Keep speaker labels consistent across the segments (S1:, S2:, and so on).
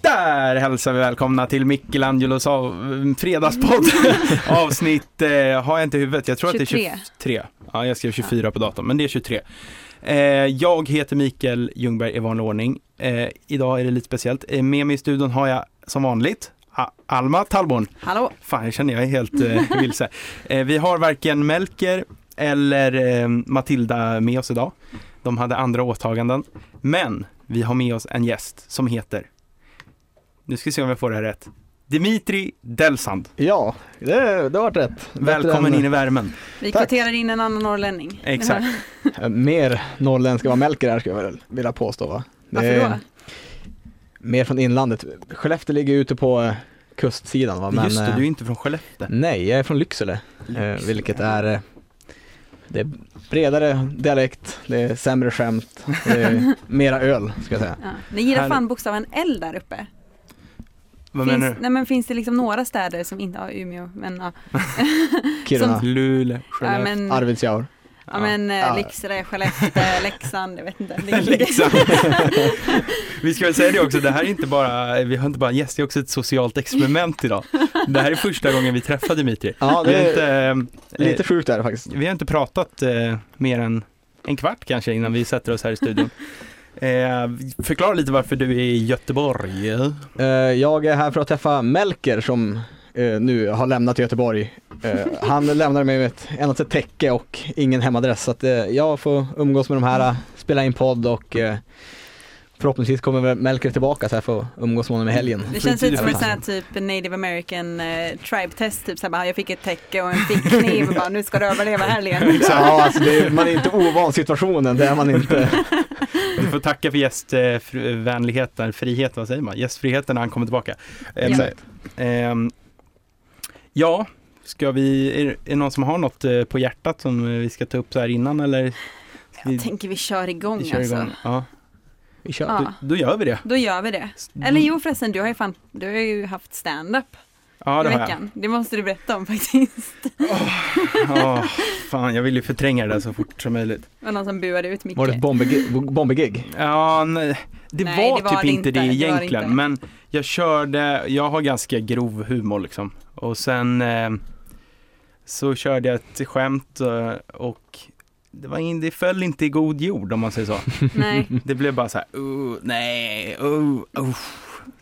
S1: Där hälsar vi välkomna till Michelangelos av, fredagspodd. Avsnitt, eh, har jag inte i huvudet, jag tror att det
S2: 23.
S1: är 23. Ja, jag skrev 24 på datorn, men det är 23. Eh, jag heter Mikael Ljungberg i vanlig ordning. Eh, idag är det lite speciellt. Eh, med mig i studion har jag som vanligt A- Alma Tallborn.
S2: Hallå!
S1: Fan, jag känner jag är helt eh, vilse. Eh, vi har varken Melker eller eh, Matilda med oss idag. De hade andra åtaganden. Men vi har med oss en gäst som heter, nu ska vi se om jag får det här rätt, Dimitri Delsand.
S3: Ja, det, det har varit rätt.
S1: Välkommen in i värmen.
S2: Vi
S3: Tack.
S2: kvoterar in en annan norrlänning.
S1: Exakt.
S3: in. Mer norrländska vad Melker är skulle jag väl vilja påstå va? Det
S2: Varför
S3: är
S2: då?
S3: Mer från inlandet. Skellefteå ligger ju ute på eh, kustsidan va? Men,
S1: Just det,
S3: eh,
S1: du är ju inte från Skellefteå.
S3: Nej, jag är från Lycksele, eh, vilket är eh, det är bredare dialekt, det är sämre skämt, det är mera öl ska jag säga.
S2: Ja. Ni gillar
S1: Här-
S2: fan bokstaven L där uppe.
S1: Vad
S2: finns,
S1: menar du?
S2: Nej, men finns det liksom några städer som inte har Umeå, men ja.
S3: Kiruna,
S1: Luleå,
S2: ja
S1: Skellefteå.
S2: men,
S3: Arvidsjaur.
S2: ja, men eh,
S3: Ja.
S2: Lycksele, Skellefteå, Leksand, jag vet inte. Det
S1: Leksand. vi ska väl säga det också, det här är inte bara, eh, vi har inte bara en gäst, det är också ett socialt experiment idag. Det här är första gången vi träffar Dimitri.
S3: Ja,
S1: Vi
S3: det
S1: har
S3: är
S1: inte, eh,
S3: lite sjukt är det faktiskt.
S1: vi har inte pratat eh, mer än en kvart kanske innan vi sätter oss här i studion. Eh, förklara lite varför du är i Göteborg.
S3: Eh, Jag är här för att träffa Melker som eh, nu har lämnat Göteborg. Eh, Han lämnade mig med ett endast ett täcke och ingen hemadress så att eh, jag får umgås med de här, eh, spela in podd och eh, förhoppningsvis kommer väl Melker tillbaka så jag får umgås med honom i helgen.
S2: Det känns lite som
S3: Ja.
S2: en sån här typ native american eh, tribe test, typ såhär bara, jag fick ett täcke och en fickkniv och bara nu ska du överleva helgen.
S3: Ja, alltså det är, man är inte ovan situationen, det är man inte.
S1: Du får tacka för gästvänligheten, frihet, vad säger man? Gästfriheten när han kommer tillbaka. Eh,
S3: Exakt.
S1: Ehm, ja, ska vi, är, är det någon som har något eh, på hjärtat som eh, vi ska ta upp så här innan eller? Ska
S2: Jag tänker vi kör igång,
S1: vi kör
S2: alltså.
S1: igång. Ja.
S3: Vi kör.
S2: Ja.
S1: Då, då gör vi det.
S2: Då gör vi det.
S1: Mm.
S2: Eller jo förresten, du har ju, fan, du har ju haft stand-up.
S1: ja, det
S2: i
S1: har jag.
S2: veckan. Det måste du berätta om faktiskt.
S1: Oh, fan, jag vill ju förtränga det där så fort som möjligt.
S2: Det var någon som buade ut Micke.
S3: Var det ett bombegig? bombegig?
S1: Ja, nej, det,
S2: Nej,
S1: var
S2: det var
S1: typ
S2: det
S1: inte det
S2: inte. Det var det
S1: egentligen,
S2: inte.
S1: men jag körde, jag har ganska grov humor liksom. Och sen eh, så körde jag ett skämt eh, och det, var in, det föll inte i god jord om man säger så.
S2: Nej,
S1: Det blev bara så här, "Uh, nej, uh, uh.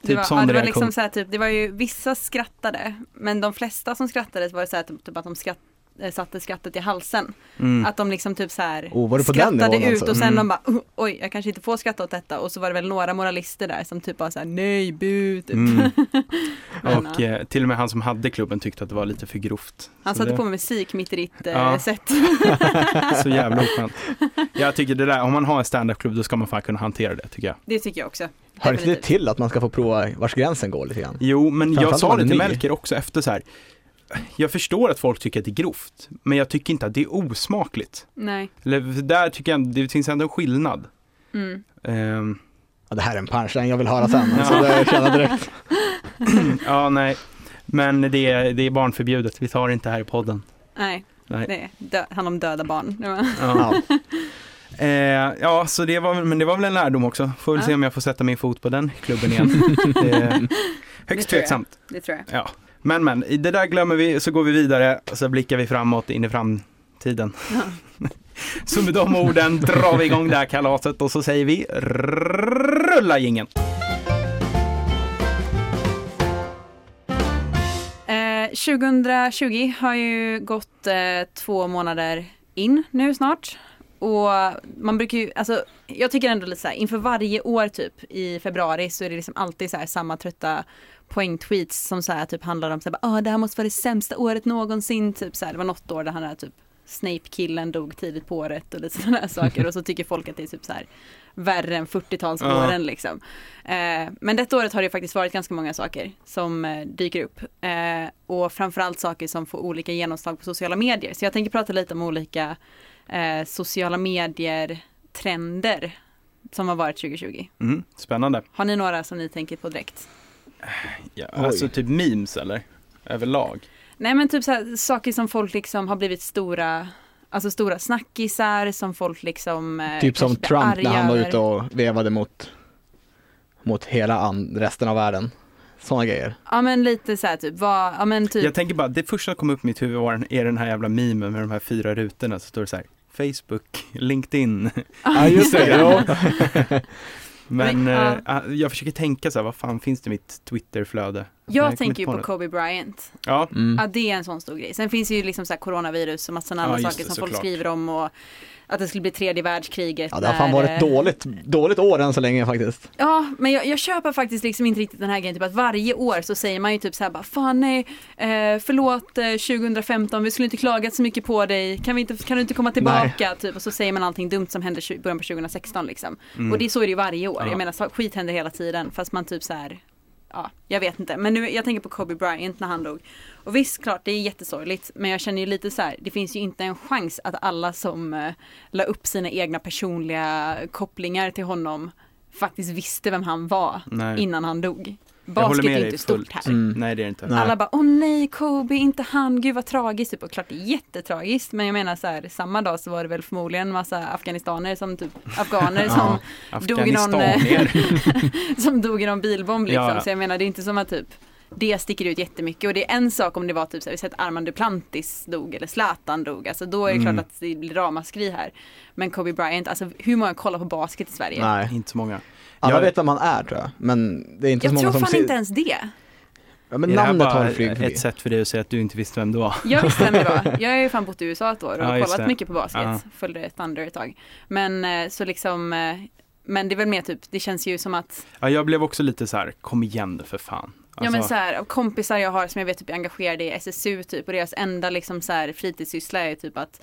S2: det
S1: Typ
S2: var,
S1: sån
S2: ja, det var
S1: reaktion.
S2: liksom så här, typ, det var ju vissa skrattade, men de flesta som skrattade var det så här, typ, typ att de skratt, eh, satte skrattet i halsen.
S1: Mm.
S2: Att de liksom typ så här
S3: Oh, var det på den
S2: skrattade
S3: nivån
S2: ut
S3: alltså?
S2: och sen
S1: Mm.
S2: de bara "Oh, oj, jag kanske inte får skratta åt detta och så var det väl några moralister där som typ bara så här nej, bu, typ.
S1: Mm.
S2: Men,
S1: Och
S2: ja.
S1: eh, till och med han som hade klubben tyckte att det var lite för grovt.
S2: Han
S1: Så
S2: satte
S1: det-
S2: på med musik mitt i ditt eh,
S1: Ja.
S2: sätt.
S1: Så jävla oskönt. Jag tycker det där, om man har en standupklubb då ska man fan kunna hantera det tycker jag.
S2: Det tycker jag också.
S3: Hör inte det
S2: Definitivt.
S3: till att man ska få prova vars gränsen går lite grann?
S1: Jo, men jag
S3: Framförallt om
S1: sa
S3: man
S1: det
S3: är
S1: till
S3: ny.
S1: Melker också efter så här. Jag förstår att folk tycker att det är grovt, men jag tycker inte att det är osmakligt.
S2: Nej.
S1: Eller, där tycker jag det finns ändå en skillnad.
S2: Mm.
S1: Ehm,
S3: Ja, det här är en punchline jag vill höra sen, alltså, det känner jag direkt.
S1: ja, nej. Men det är, det är barnförbjudet, vi tar det inte här i podden.
S2: Nej,
S1: Nej.
S2: det är dö- handlar om döda barn.
S1: Ja.
S3: Ja.
S1: Eh, ja, så det var, väl- men det var väl en lärdom också. Får väl
S2: Ja.
S1: se om jag får sätta min fot på den klubben igen. eh,
S2: tror jag.
S1: högst tveksamt.
S2: Det tror jag.
S1: Ja. Men men, det där glömmer vi så går vi vidare och så blickar vi framåt in i framtiden. så med de orden drar vi igång det här kalaset och så säger vi rulla jingeln.
S2: Eh, 2020 har ju gått eh, två månader in nu snart. Och man brukar ju, alltså jag tycker ändå lite så här, inför varje år typ i februari så är det liksom alltid så här samma trötta poängtweets som så här typ handlar om så här, bara, "Ah, det här måste vara det sämsta året någonsin, typ så här, det var något år där han där typ Snape-killen dog tidigt på året och lite sådana här saker och så tycker folk att det är typ så här värre än 40-talsåren
S1: Ja.
S2: liksom. Eh, men detta året har det faktiskt varit ganska många saker som eh, dyker upp. Eh, och framförallt saker som får olika genomslag på sociala medier. Så jag tänker prata lite om olika eh, sociala medier-trender som har varit 2020.
S1: Mm, spännande.
S2: Har ni några som ni tänker på direkt?
S1: Ja,
S3: Oj.
S1: alltså typ memes eller? Överlag.
S2: Nej men typ så här, saker som folk liksom har blivit stora, alltså stora snackisar som folk liksom eh,
S3: Typ som
S2: kanske blir
S3: Trump
S2: arga
S3: när han var
S2: över.
S3: ute och vevade mot, mot hela an, resten av världen. sådana grejer.
S2: Ja men lite så här typ, vad, ja men typ.
S1: Jag tänker bara, det första som kom upp i mitt huvud var den- är den här jävla memen med de här fyra rutorna så står det så här Facebook, LinkedIn.
S3: Ja just det, jo.
S1: Men
S2: Men,
S1: eh,
S2: ja.
S1: ah, jag försöker tänka så här, vad fan finns det i mitt Twitterflöde?
S2: Jag
S1: Nej,
S2: tänker ju
S1: kom
S2: på
S1: inte
S2: Kobe Bryant.
S1: något. Ja,
S3: Mm.
S2: Ja det är en sån stor grej. Sen finns det ju liksom så här coronavirus och massa andra
S1: just det,
S2: saker som folk
S1: såklart.
S2: skriver om och att det skulle bli tredje världskriget.
S3: Ja det har fan
S2: när,
S3: varit
S2: eh,
S3: ett dåligt, dåligt år än så länge faktiskt.
S2: Ja, men jag, jag köper faktiskt liksom inte riktigt den här grejen. Typ att varje år så säger man ju typ så här bara, fan nej, eh, förlåt eh, 2015, vi skulle inte klagat så mycket på dig, kan, vi inte, kan du inte komma tillbaka? Typ, och så säger man allting dumt som hände i början på 2016 liksom.
S1: Mm.
S2: Och det så är det ju varje år.
S1: Ja.
S2: Jag menar så- skit händer hela tiden fast man typ så här, ja, jag vet inte. Men nu, jag tänker på Kobe Bryant när han dog. Och visst, klart det är jättesorgligt, men jag känner ju lite så här, det finns ju inte en chans att alla som eh, la upp sina egna personliga kopplingar till honom faktiskt visste vem han var
S1: nej.
S2: innan han dog.
S1: håller
S2: Basket
S1: med
S2: är ju
S1: dig
S2: inte stort
S1: fullt.
S2: här.
S3: Mm.
S1: nej, det är det inte.
S3: Nej.
S2: Alla bara, åh nej Kobe, inte han, gud vad tragiskt. Typ. Och klart det är jättetragiskt, men jag menar så här, samma dag så var det väl förmodligen en massa afghanistaner som typ, afghaner som
S1: Ja,
S2: dog i någon, eh,
S1: Afghanistanier.
S2: som dog i någon bilbomb liksom.
S1: Ja, ja.
S2: Så jag menar det är inte som att typ det sticker ut jättemycket och det är en sak om det var typ så här, vi sett Armand Duplantis dog eller Zlatan dog, alltså då är det
S1: Mm.
S2: klart att det blir ramaskri här. Men Kobe Bryant, alltså hur många kollar på basket i Sverige?
S3: Nej.
S1: Inte så många.
S3: Alla
S1: Jag-
S3: vet vem han är tror jag, men det är inte så
S2: Jag
S3: många
S2: tror
S3: som
S2: fan
S3: ser...
S2: inte ens det.
S3: Ja, men
S1: är det här
S3: namnet har
S1: bara
S3: flugit förbi.
S1: ett sätt för dig att säga att du inte visste vem du var?
S2: Jag visste vem det var. Jag har ju fan bott i USA ett år och
S1: Ja, just
S2: kollat
S1: det.
S2: mycket på basket.
S1: Ja.
S2: Följde Thunder ett tag. Men eh, så liksom, eh, men det är väl mer typ, det känns ju som att
S1: Ja, jag blev också lite så här, kom igen nu för fan.
S2: Ja men
S1: Alltså,
S2: så här, av kompisar jag har som jag vet typ är engagerade i SSU typ och deras enda liksom så här fritidssyssla är typ att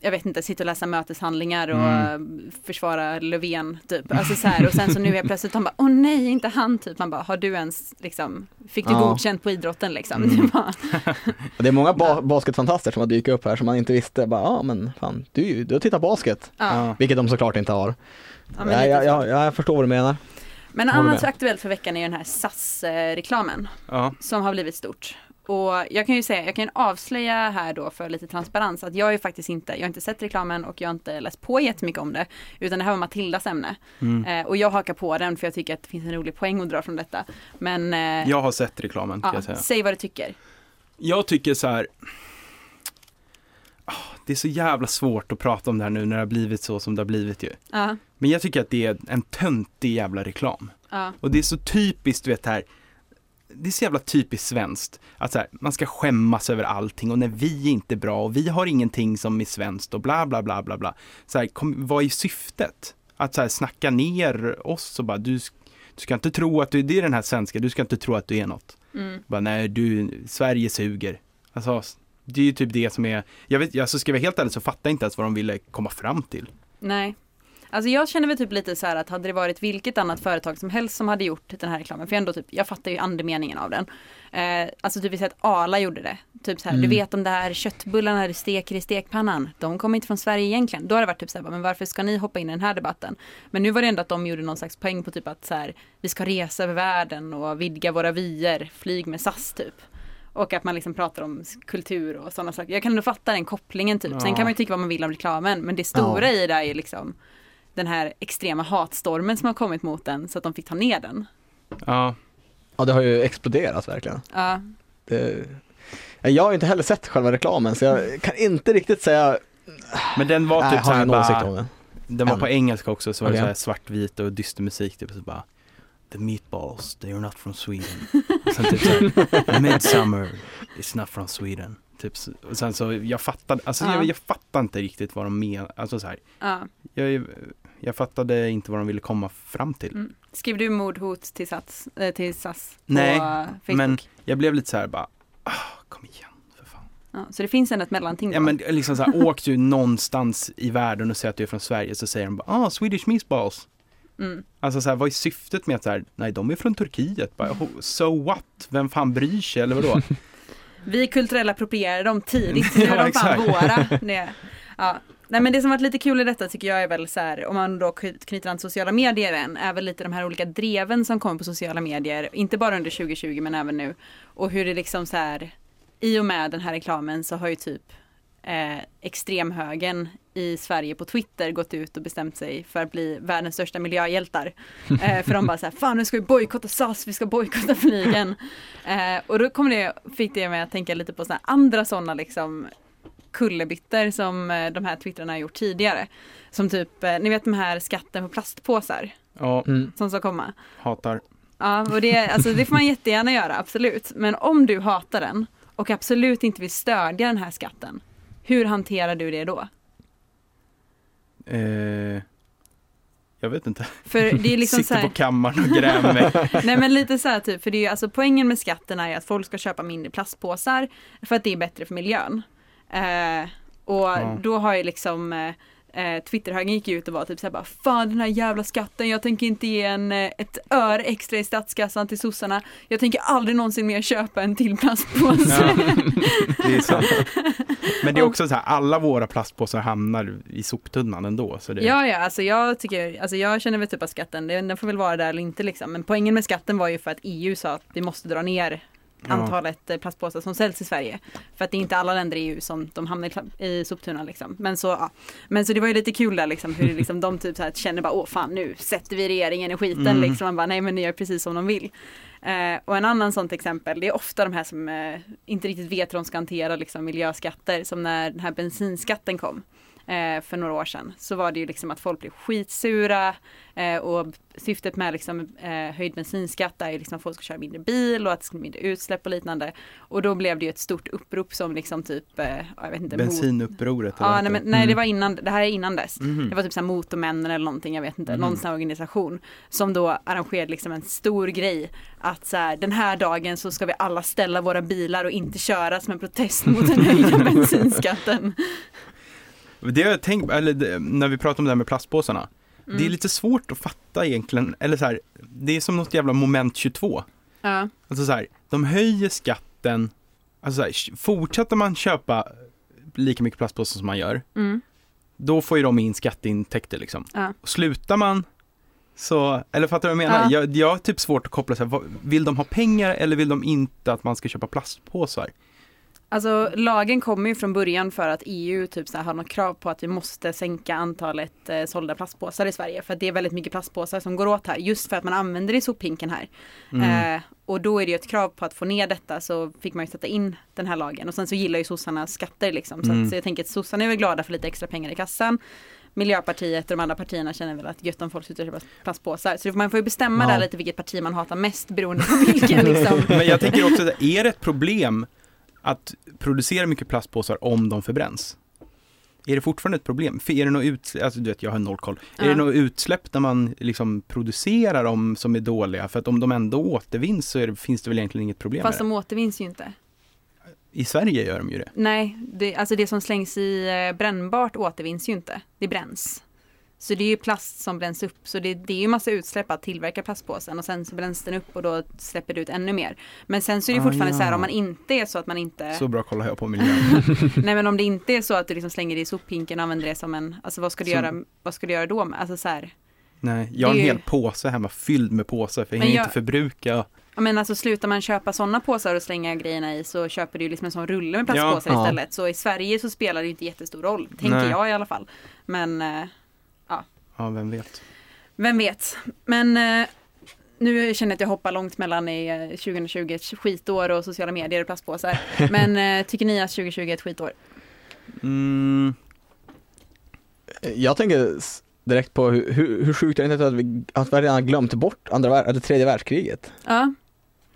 S2: jag vet inte, sitta och läsa möteshandlingar och
S3: Mm.
S2: eh, försvara Löfven typ. Alltså så här, och sen så nu är plötsligt han bara, åh nej, inte han typ. Man bara, har du ens liksom, fick du
S3: Ja.
S2: godkänt på idrotten liksom?
S1: Mm.
S2: Det bara,
S3: Och Det är många ba- basketfantaster som har dykt upp här som man inte visste. Bara, ja men fan, du, är ju- du har tittat basket.
S2: ja.
S1: ja.
S3: Vilket de såklart inte har.
S2: Ja, men,
S3: Nej,
S2: lite
S3: jag,
S2: så.
S3: jag, jag förstår vad du menar.
S2: men
S3: håller
S2: annars
S3: med.
S2: aktuellt för veckan är ju den här SAS-reklamen.
S1: ja.
S2: som har blivit stort. Och jag kan ju säga, jag kan avslöja här då för lite transparens att jag är faktiskt inte, jag har inte sett reklamen och jag har inte läst på jättemycket om det. Utan det här var Matildas ämne.
S1: Mm.
S2: Eh, och jag hakar på den för jag tycker att det finns en rolig poäng att dra från detta. Men eh,
S1: Jag har sett reklamen kan
S2: ja,
S1: jag säga.
S2: säg vad du tycker.
S1: Jag tycker så här. Ah, Det är så jävla svårt att prata om det här nu när det har blivit så som det har blivit ju.
S2: Ja,
S1: Men jag tycker att det är en töntig jävla reklam.
S2: ja,
S1: Och det är så typiskt, du vet det här. Det är så jävla typiskt svenskt. Att så här, man ska skämmas över allting och när vi är inte är bra och vi har ingenting som är svenskt och bla bla bla bla bla. Så här, kom, vad är syftet? Att så här, snacka ner oss och bara du, sk- du ska inte tro att du, det är den här svenska, du ska inte tro att du är något.
S2: mm,
S1: Bara, nej du, Sverige suger. Alltså, det är ju typ det som är, jag vet, alltså ska jag vara helt ärlig så fattar jag inte ens vad de ville komma fram till.
S2: nej. Alltså jag känner väl typ lite så här att hade det varit vilket annat företag som helst som hade gjort den här reklamen, för jag ändå typ, jag fattar ju andemeningen av den. Eh, alltså typ vi säger att Arla gjorde det. Typ så här,
S3: Mm.
S2: du vet de där köttbullarna du steker i stekpannan, de kommer inte från Sverige egentligen. Då har det varit typ så här, men varför ska ni hoppa in i den här debatten? Men nu var det ändå att de gjorde någon slags poäng på typ att så här, vi ska resa över världen och vidga våra vyer, flyg med SAS typ. Och att man liksom pratar om s- kultur och sådana saker. Jag kan ändå fatta den kopplingen typ. Sen
S1: Ja.
S2: kan man ju tycka vad man vill om reklamen, men det stora i det är ju liksom den här extrema hatstormen som har kommit mot den så att de fick ta ner den.
S1: Ja,
S3: Ja, det har ju exploderat verkligen.
S2: Ja,
S3: Det... Jag har ju inte heller sett själva reklamen så jag kan inte riktigt säga,
S1: men den var
S3: nej,
S1: typ
S3: har
S1: såhär
S3: jag någon åsikt om
S1: bara,
S3: den.
S1: den var på
S3: Än.
S1: engelska också så var det
S3: Okej.
S1: såhär svartvit och dyster musik typ så bara The meatballs, they are not from Sweden. Och sen typ såhär, Midsummer is not from Sweden. Typ så, och sen så, jag fattade, alltså
S2: Ja.
S1: jag, jag fattade inte riktigt vad de menade, alltså såhär,
S2: ja.
S1: jag, jag fattade inte vad de ville komma fram till.
S2: Mm. Skrev du mordhot till, sats, eh, till SAS på
S1: Nej,
S2: eh, Facebook?
S1: Men jag blev lite så här bara, ah, kom igen för fan.
S2: Ja, så det finns ändå ett mellanting?
S1: Ja
S2: då?
S1: men liksom så här, åk du någonstans i världen och säger att du är från Sverige så säger de bara, ah, Swedish meatballs.
S2: mm.
S1: Alltså så här, vad är syftet med att så här, nej de är från Turkiet, bara, "Oh, so what, vem fan bryr sig eller vadå?
S2: Vi kulturella approprierade dem tidigt, nu
S1: Ja,
S2: är de fan
S1: exakt.
S2: våra. Det, ja. Nej men det som varit lite kul i detta tycker jag är väl så här, om man då kny- knyter an till sociala medier än, är väl lite de här olika dreven som kommer på sociala medier, inte bara under 2020 men även nu. Och hur det liksom så här, i och med den här reklamen så har ju typ eh, extremhögern i Sverige på Twitter gått ut och bestämt sig för att bli världens största miljöhjältar. Eh, för de bara så här, fan nu ska vi bojkotta SAS, vi ska bojkotta flygen. Eh, och då kom det, fick det mig att tänka lite på så här andra sådana liksom kullerbyttor som eh, de här twittrarna har gjort tidigare. Som typ, eh, ni vet de här skatten på plastpåsar
S1: Ja,
S3: Mm.
S2: som ska komma.
S1: hatar.
S2: Ja, och det, alltså, det får man jättegärna göra, absolut. Men om du hatar den och absolut inte vill stödja den här skatten, hur hanterar du det då?
S1: Eh, jag vet inte.
S2: För det är liksom så
S1: Sitter
S2: här,
S1: på kammaren och gräver mig.
S2: nej men lite så här typ, för det är ju, alltså poängen med skatten är ju att folk ska köpa mindre plastpåsar för att det är bättre för miljön. Eh, och
S1: Ja.
S2: då har ju liksom eh, eh, Twitterhögern gick ju ut och var typ såhär bara Fan den här jävla skatten, jag tänker inte ge en, eh, ett öre extra i statskassan till sossarna. Jag tänker aldrig någonsin mer köpa en till plastpåse.
S1: Ja, det är sant. Men det är också så här, alla våra plastpåsar hamnar i soptunnan ändå. Så det,
S2: Ja, ja, alltså jag tycker, alltså jag känner väl typ att skatten, den den får väl vara där eller inte liksom. Men poängen med skatten var ju för att EU sa att vi måste dra ner
S1: Ja.
S2: antalet eh, plastpåsar som säljs i Sverige. För att det är inte alla länder i EU som de hamnar i kla- i soptunnan liksom. Men så, ja. Men så det var ju lite kul där liksom hur liksom de typ så här känner bara åh fan nu sätter vi regeringen i skiten
S1: Mm.
S2: liksom. Man bara nej men ni gör precis som de vill. Eh, och en annan sånt exempel, det är ofta de här som eh, inte riktigt vet hur de ska hantera liksom, miljöskatter, som när den här bensinskatten kom eh, för några år sedan, så var det ju liksom att folk blev skitsura eh, och syftet med liksom, eh, höjd bensinskatt är ju liksom att folk ska köra mindre bil och att det ska bli mindre utsläpp och liknande. Och då blev det ju ett stort upprop som liksom typ, eh, jag vet inte, mot-
S1: Bensinupproret. eller
S2: Ja,
S1: vad
S2: nej,
S1: det
S2: men,
S1: heter.
S2: nej, det
S3: Mm.
S2: var innan, det här är innan dess.
S1: Mhm.
S2: Det var typ så här Motormännen eller någonting, jag vet inte,
S1: Mm.
S2: någon sån här organisation som då arrangerade liksom en stor grej att så här, den här dagen så ska vi alla ställa våra bilar och inte köra som en protest mot den höjda bensinskatten.
S1: Det har jag tänkt, eller det, när vi pratar om det här med plastpåsarna.
S2: Mm.
S1: Det är lite svårt att fatta egentligen, eller så här, det är som något jävla moment 22.
S2: Mm. Ja,
S1: Alltså så här, de höjer skatten, alltså så här, fortsätter man köpa lika mycket plastpåsar som man gör,
S2: mm,
S1: då får ju de in skatteintäkter liksom.
S2: Ja.
S1: Och slutar man så, eller fattar du vad jag menar?
S2: Ja.
S1: Jag, jag har typ svårt att koppla så här, vad, vill de ha pengar eller vill de inte att man ska köpa plastpåsar?
S2: alltså lagen kommer ju från början för att EU typ så här, har något krav på att vi måste sänka antalet eh, sålda plastpåsar i Sverige för att det är väldigt mycket plastpåsar som går åt här just för att man använder det i sophinken här.
S1: Mm.
S2: Eh, och då är det ju ett krav på att få ner detta så fick man ju sätta in den här lagen. Och sen så gillar ju sossarna skatter liksom. Så,
S1: Mm.
S2: att, så jag tänker att sossarna är väl glada för lite extra pengar i kassan. Miljöpartiet och de andra partierna känner väl att gött om folk slutar köpa plastpåsar. Så det- man får ju bestämma
S1: Ja.
S2: där lite vilket parti man hatar mest beroende på vilken liksom.
S1: Men jag tänker också, så här, är det ett problem att producera mycket plastpåsar om de förbränns? Är det fortfarande ett problem? För är det något utsläpp, alltså du vet jag har noll koll. Är
S2: Ja.
S1: det något utsläpp när man liksom producerar dem som är dåliga? För att om de ändå återvinns så är det, finns det väl egentligen inget problem
S2: Fast
S1: med
S2: de återvinns ju inte.
S1: det. I Sverige gör de ju det.
S2: Nej, det, alltså det som slängs i eh, brännbart återvinns ju inte. Det bränns. Så det är ju plast som bränns upp. Så det, det är ju massa utsläpp att tillverka plastpåsen och sen så bränns den upp och då släpper det ut ännu mer. Men sen så är det
S1: Ah,
S2: fortfarande
S1: ja.
S2: så här om man inte är så att man inte,
S1: Så bra kollar jag på miljön.
S2: nej men om det inte är så att du liksom slänger det i sophinken och använder det som en, alltså vad ska du
S1: Som-
S2: göra, vad ska du göra då med, alltså så här,
S1: Nej, jag har
S2: Det
S1: en
S2: är ju-
S1: hel påse hemma fylld med påsar för jag
S2: Men
S1: hinner
S2: jag-
S1: inte förbruka.
S2: ja men alltså slutar man köpa sådana påsar och slänga grejerna i så köper du ju liksom en sån rulle med plastpåsar
S3: Ja.
S2: istället. Så i Sverige så spelar det ju inte jättestor roll, tänker
S1: Nej.
S2: jag i alla fall. Men eh,
S1: Ja, vem vet.
S2: Vem vet. Men eh, nu känner jag att jag hoppar långt mellan i eh, 2020 ett skitår och sociala medier och plastpåsar. Men eh, tycker ni att 2020 är ett skitår?
S1: Mm,
S3: Jag tänker s- direkt på hur, hur, hur sjukt är det inte att vi, att vi redan har glömt bort andra, vär- eller tredje världskriget.
S2: Ja,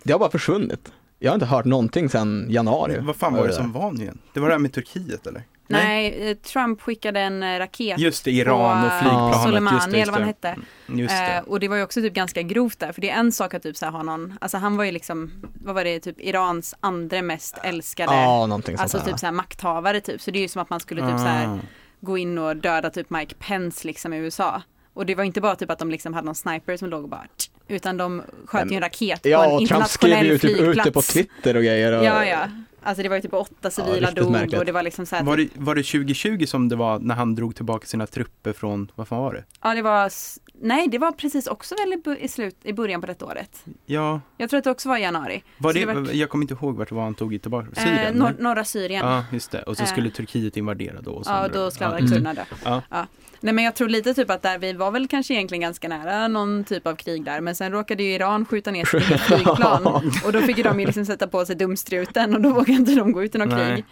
S3: Det har bara försvunnit. Jag har inte hört någonting sedan januari.
S1: vad fan var det som var nu igen? Det var det här med Turkiet eller?
S2: nej, eh, Trump skickade en eh, raket
S1: Just det, Iran och
S2: på, eh,
S1: flygplanet.
S2: Soleimani
S1: Just det,
S2: eller
S1: just
S2: vad han
S1: det.
S2: hette.
S1: Just det.
S2: Eh, och det var ju också typ ganska grovt där, för det är en sak att typ så här ha någon, alltså han var ju liksom, vad var det, typ Irans andra mest älskade,
S3: Ja, någonting sånt
S2: alltså
S3: där.
S2: typ så här makthavare typ, så det är ju som att man skulle typ så här
S1: Ah.
S2: gå in och döda typ Mike Pence liksom i USA. Och det var inte bara typ att de liksom hade någon sniper som låg och bara tsch, utan de sköt ju en raket på
S3: Ja,
S2: en
S3: och Trump skrev
S2: internationell
S3: ju typ
S2: flygplats.
S3: ute på Twitter och grejer. Och,
S2: Ja, ja. Alltså det var ju typ åtta civila
S3: riktigt
S2: dog
S3: märkligt.
S2: och det var liksom
S3: Ah.
S2: så här,
S1: Var det, var det 2020 som det var när han drog tillbaka sina trupper från, vad fan var det?
S2: ja det var, s- nej det var precis också väl i, bu- i, slut, i början på detta året.
S1: Ja,
S2: Jag tror att det också var i januari.
S1: var
S2: Så
S1: det,
S2: det var-
S1: jag kommer inte ihåg vart det var han tog tillbaka, Syrien?
S2: Eh,
S1: nej?
S2: nor- norra Syrien.
S1: Ja, just det. Och så
S2: Eh.
S1: skulle Turkiet invadera då. Och sen-
S2: Ja, och då skvallrade
S1: Ja,
S3: Mm.
S2: kurderna då.
S1: Ja.
S2: Ja. Nej men jag tror lite typ att där vi var väl kanske egentligen ganska nära någon typ av krig där men sen råkade ju Iran skjuta ner sitt eget flygplan och då fick ju de ju liksom sätta på sig dumstruten och då vågade inte de gå ut i något
S1: Nej.
S2: krig.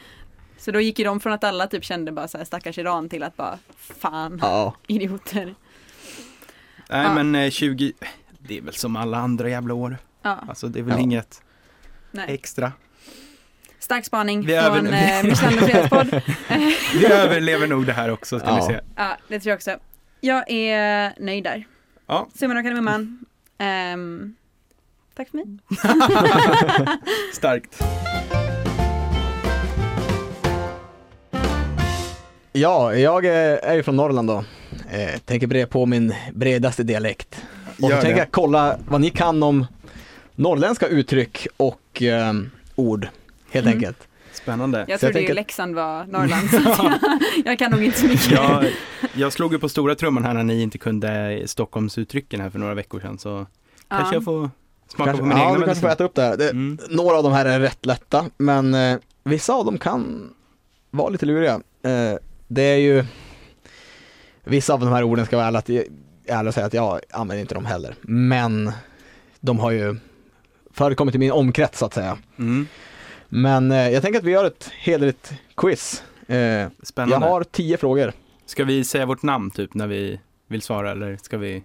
S2: Så då gick ju de från att alla typ kände bara så här stackars Iran till att bara fan
S3: Ja,
S2: idioter.
S1: Nej,
S2: Ja.
S1: men eh, 20, det är väl som alla andra jävla år.
S2: Ja,
S1: Alltså det är väl
S3: Ja.
S1: inget
S2: nej.
S1: extra.
S2: Stark spaning
S1: Vi
S2: från
S1: överlever.
S2: eh, Michelin och Fredagspodd.
S1: Vi överlever nog det här också, ska
S3: Ja.
S1: vi se.
S2: Ja, det tror jag också. Jag är nöjd där.
S1: Ja.
S2: Summan och kardemumman. Ehm, tack för mig.
S1: Starkt.
S3: ja jag eh, är ju från Norrland då. Eh, tänker bre på min bredaste dialekt. Och så
S1: Gör
S3: tänker
S1: det.
S3: jag kolla vad ni kan om norrländska uttryck och ehm, ord, helt
S2: Mm.
S3: enkelt.
S1: Spännande.
S2: Jag
S3: Så jag
S2: trodde
S3: tänker-
S2: ju Leksand var Norrland, så att jag, jag kan nog inte så mycket.
S1: Jag, jag slog ju på stora trumman här när ni inte kunde Stockholmsuttrycken här för några veckor sedan så kanske jag får smaka
S3: Kanske-
S1: på mina
S3: ja,
S1: egna
S3: du kanske får
S1: medicin.
S3: äta upp det. här. det
S1: Mm.
S3: Några av de här är rätt lätta, men eh, vissa av dem kan vara lite luriga. Eh, det är ju, vissa av de här orden ska vara ärligt, ärligt säga att jag använder inte dem heller, men de har ju förekommit i min omkrets så att säga.
S1: Mm.
S3: Men eh, jag tänker att vi gör ett hederligt quiz. Eh, jag
S1: Spännande.
S3: har tio frågor.
S1: Ska vi säga vårt namn typ när vi vill svara eller ska vi?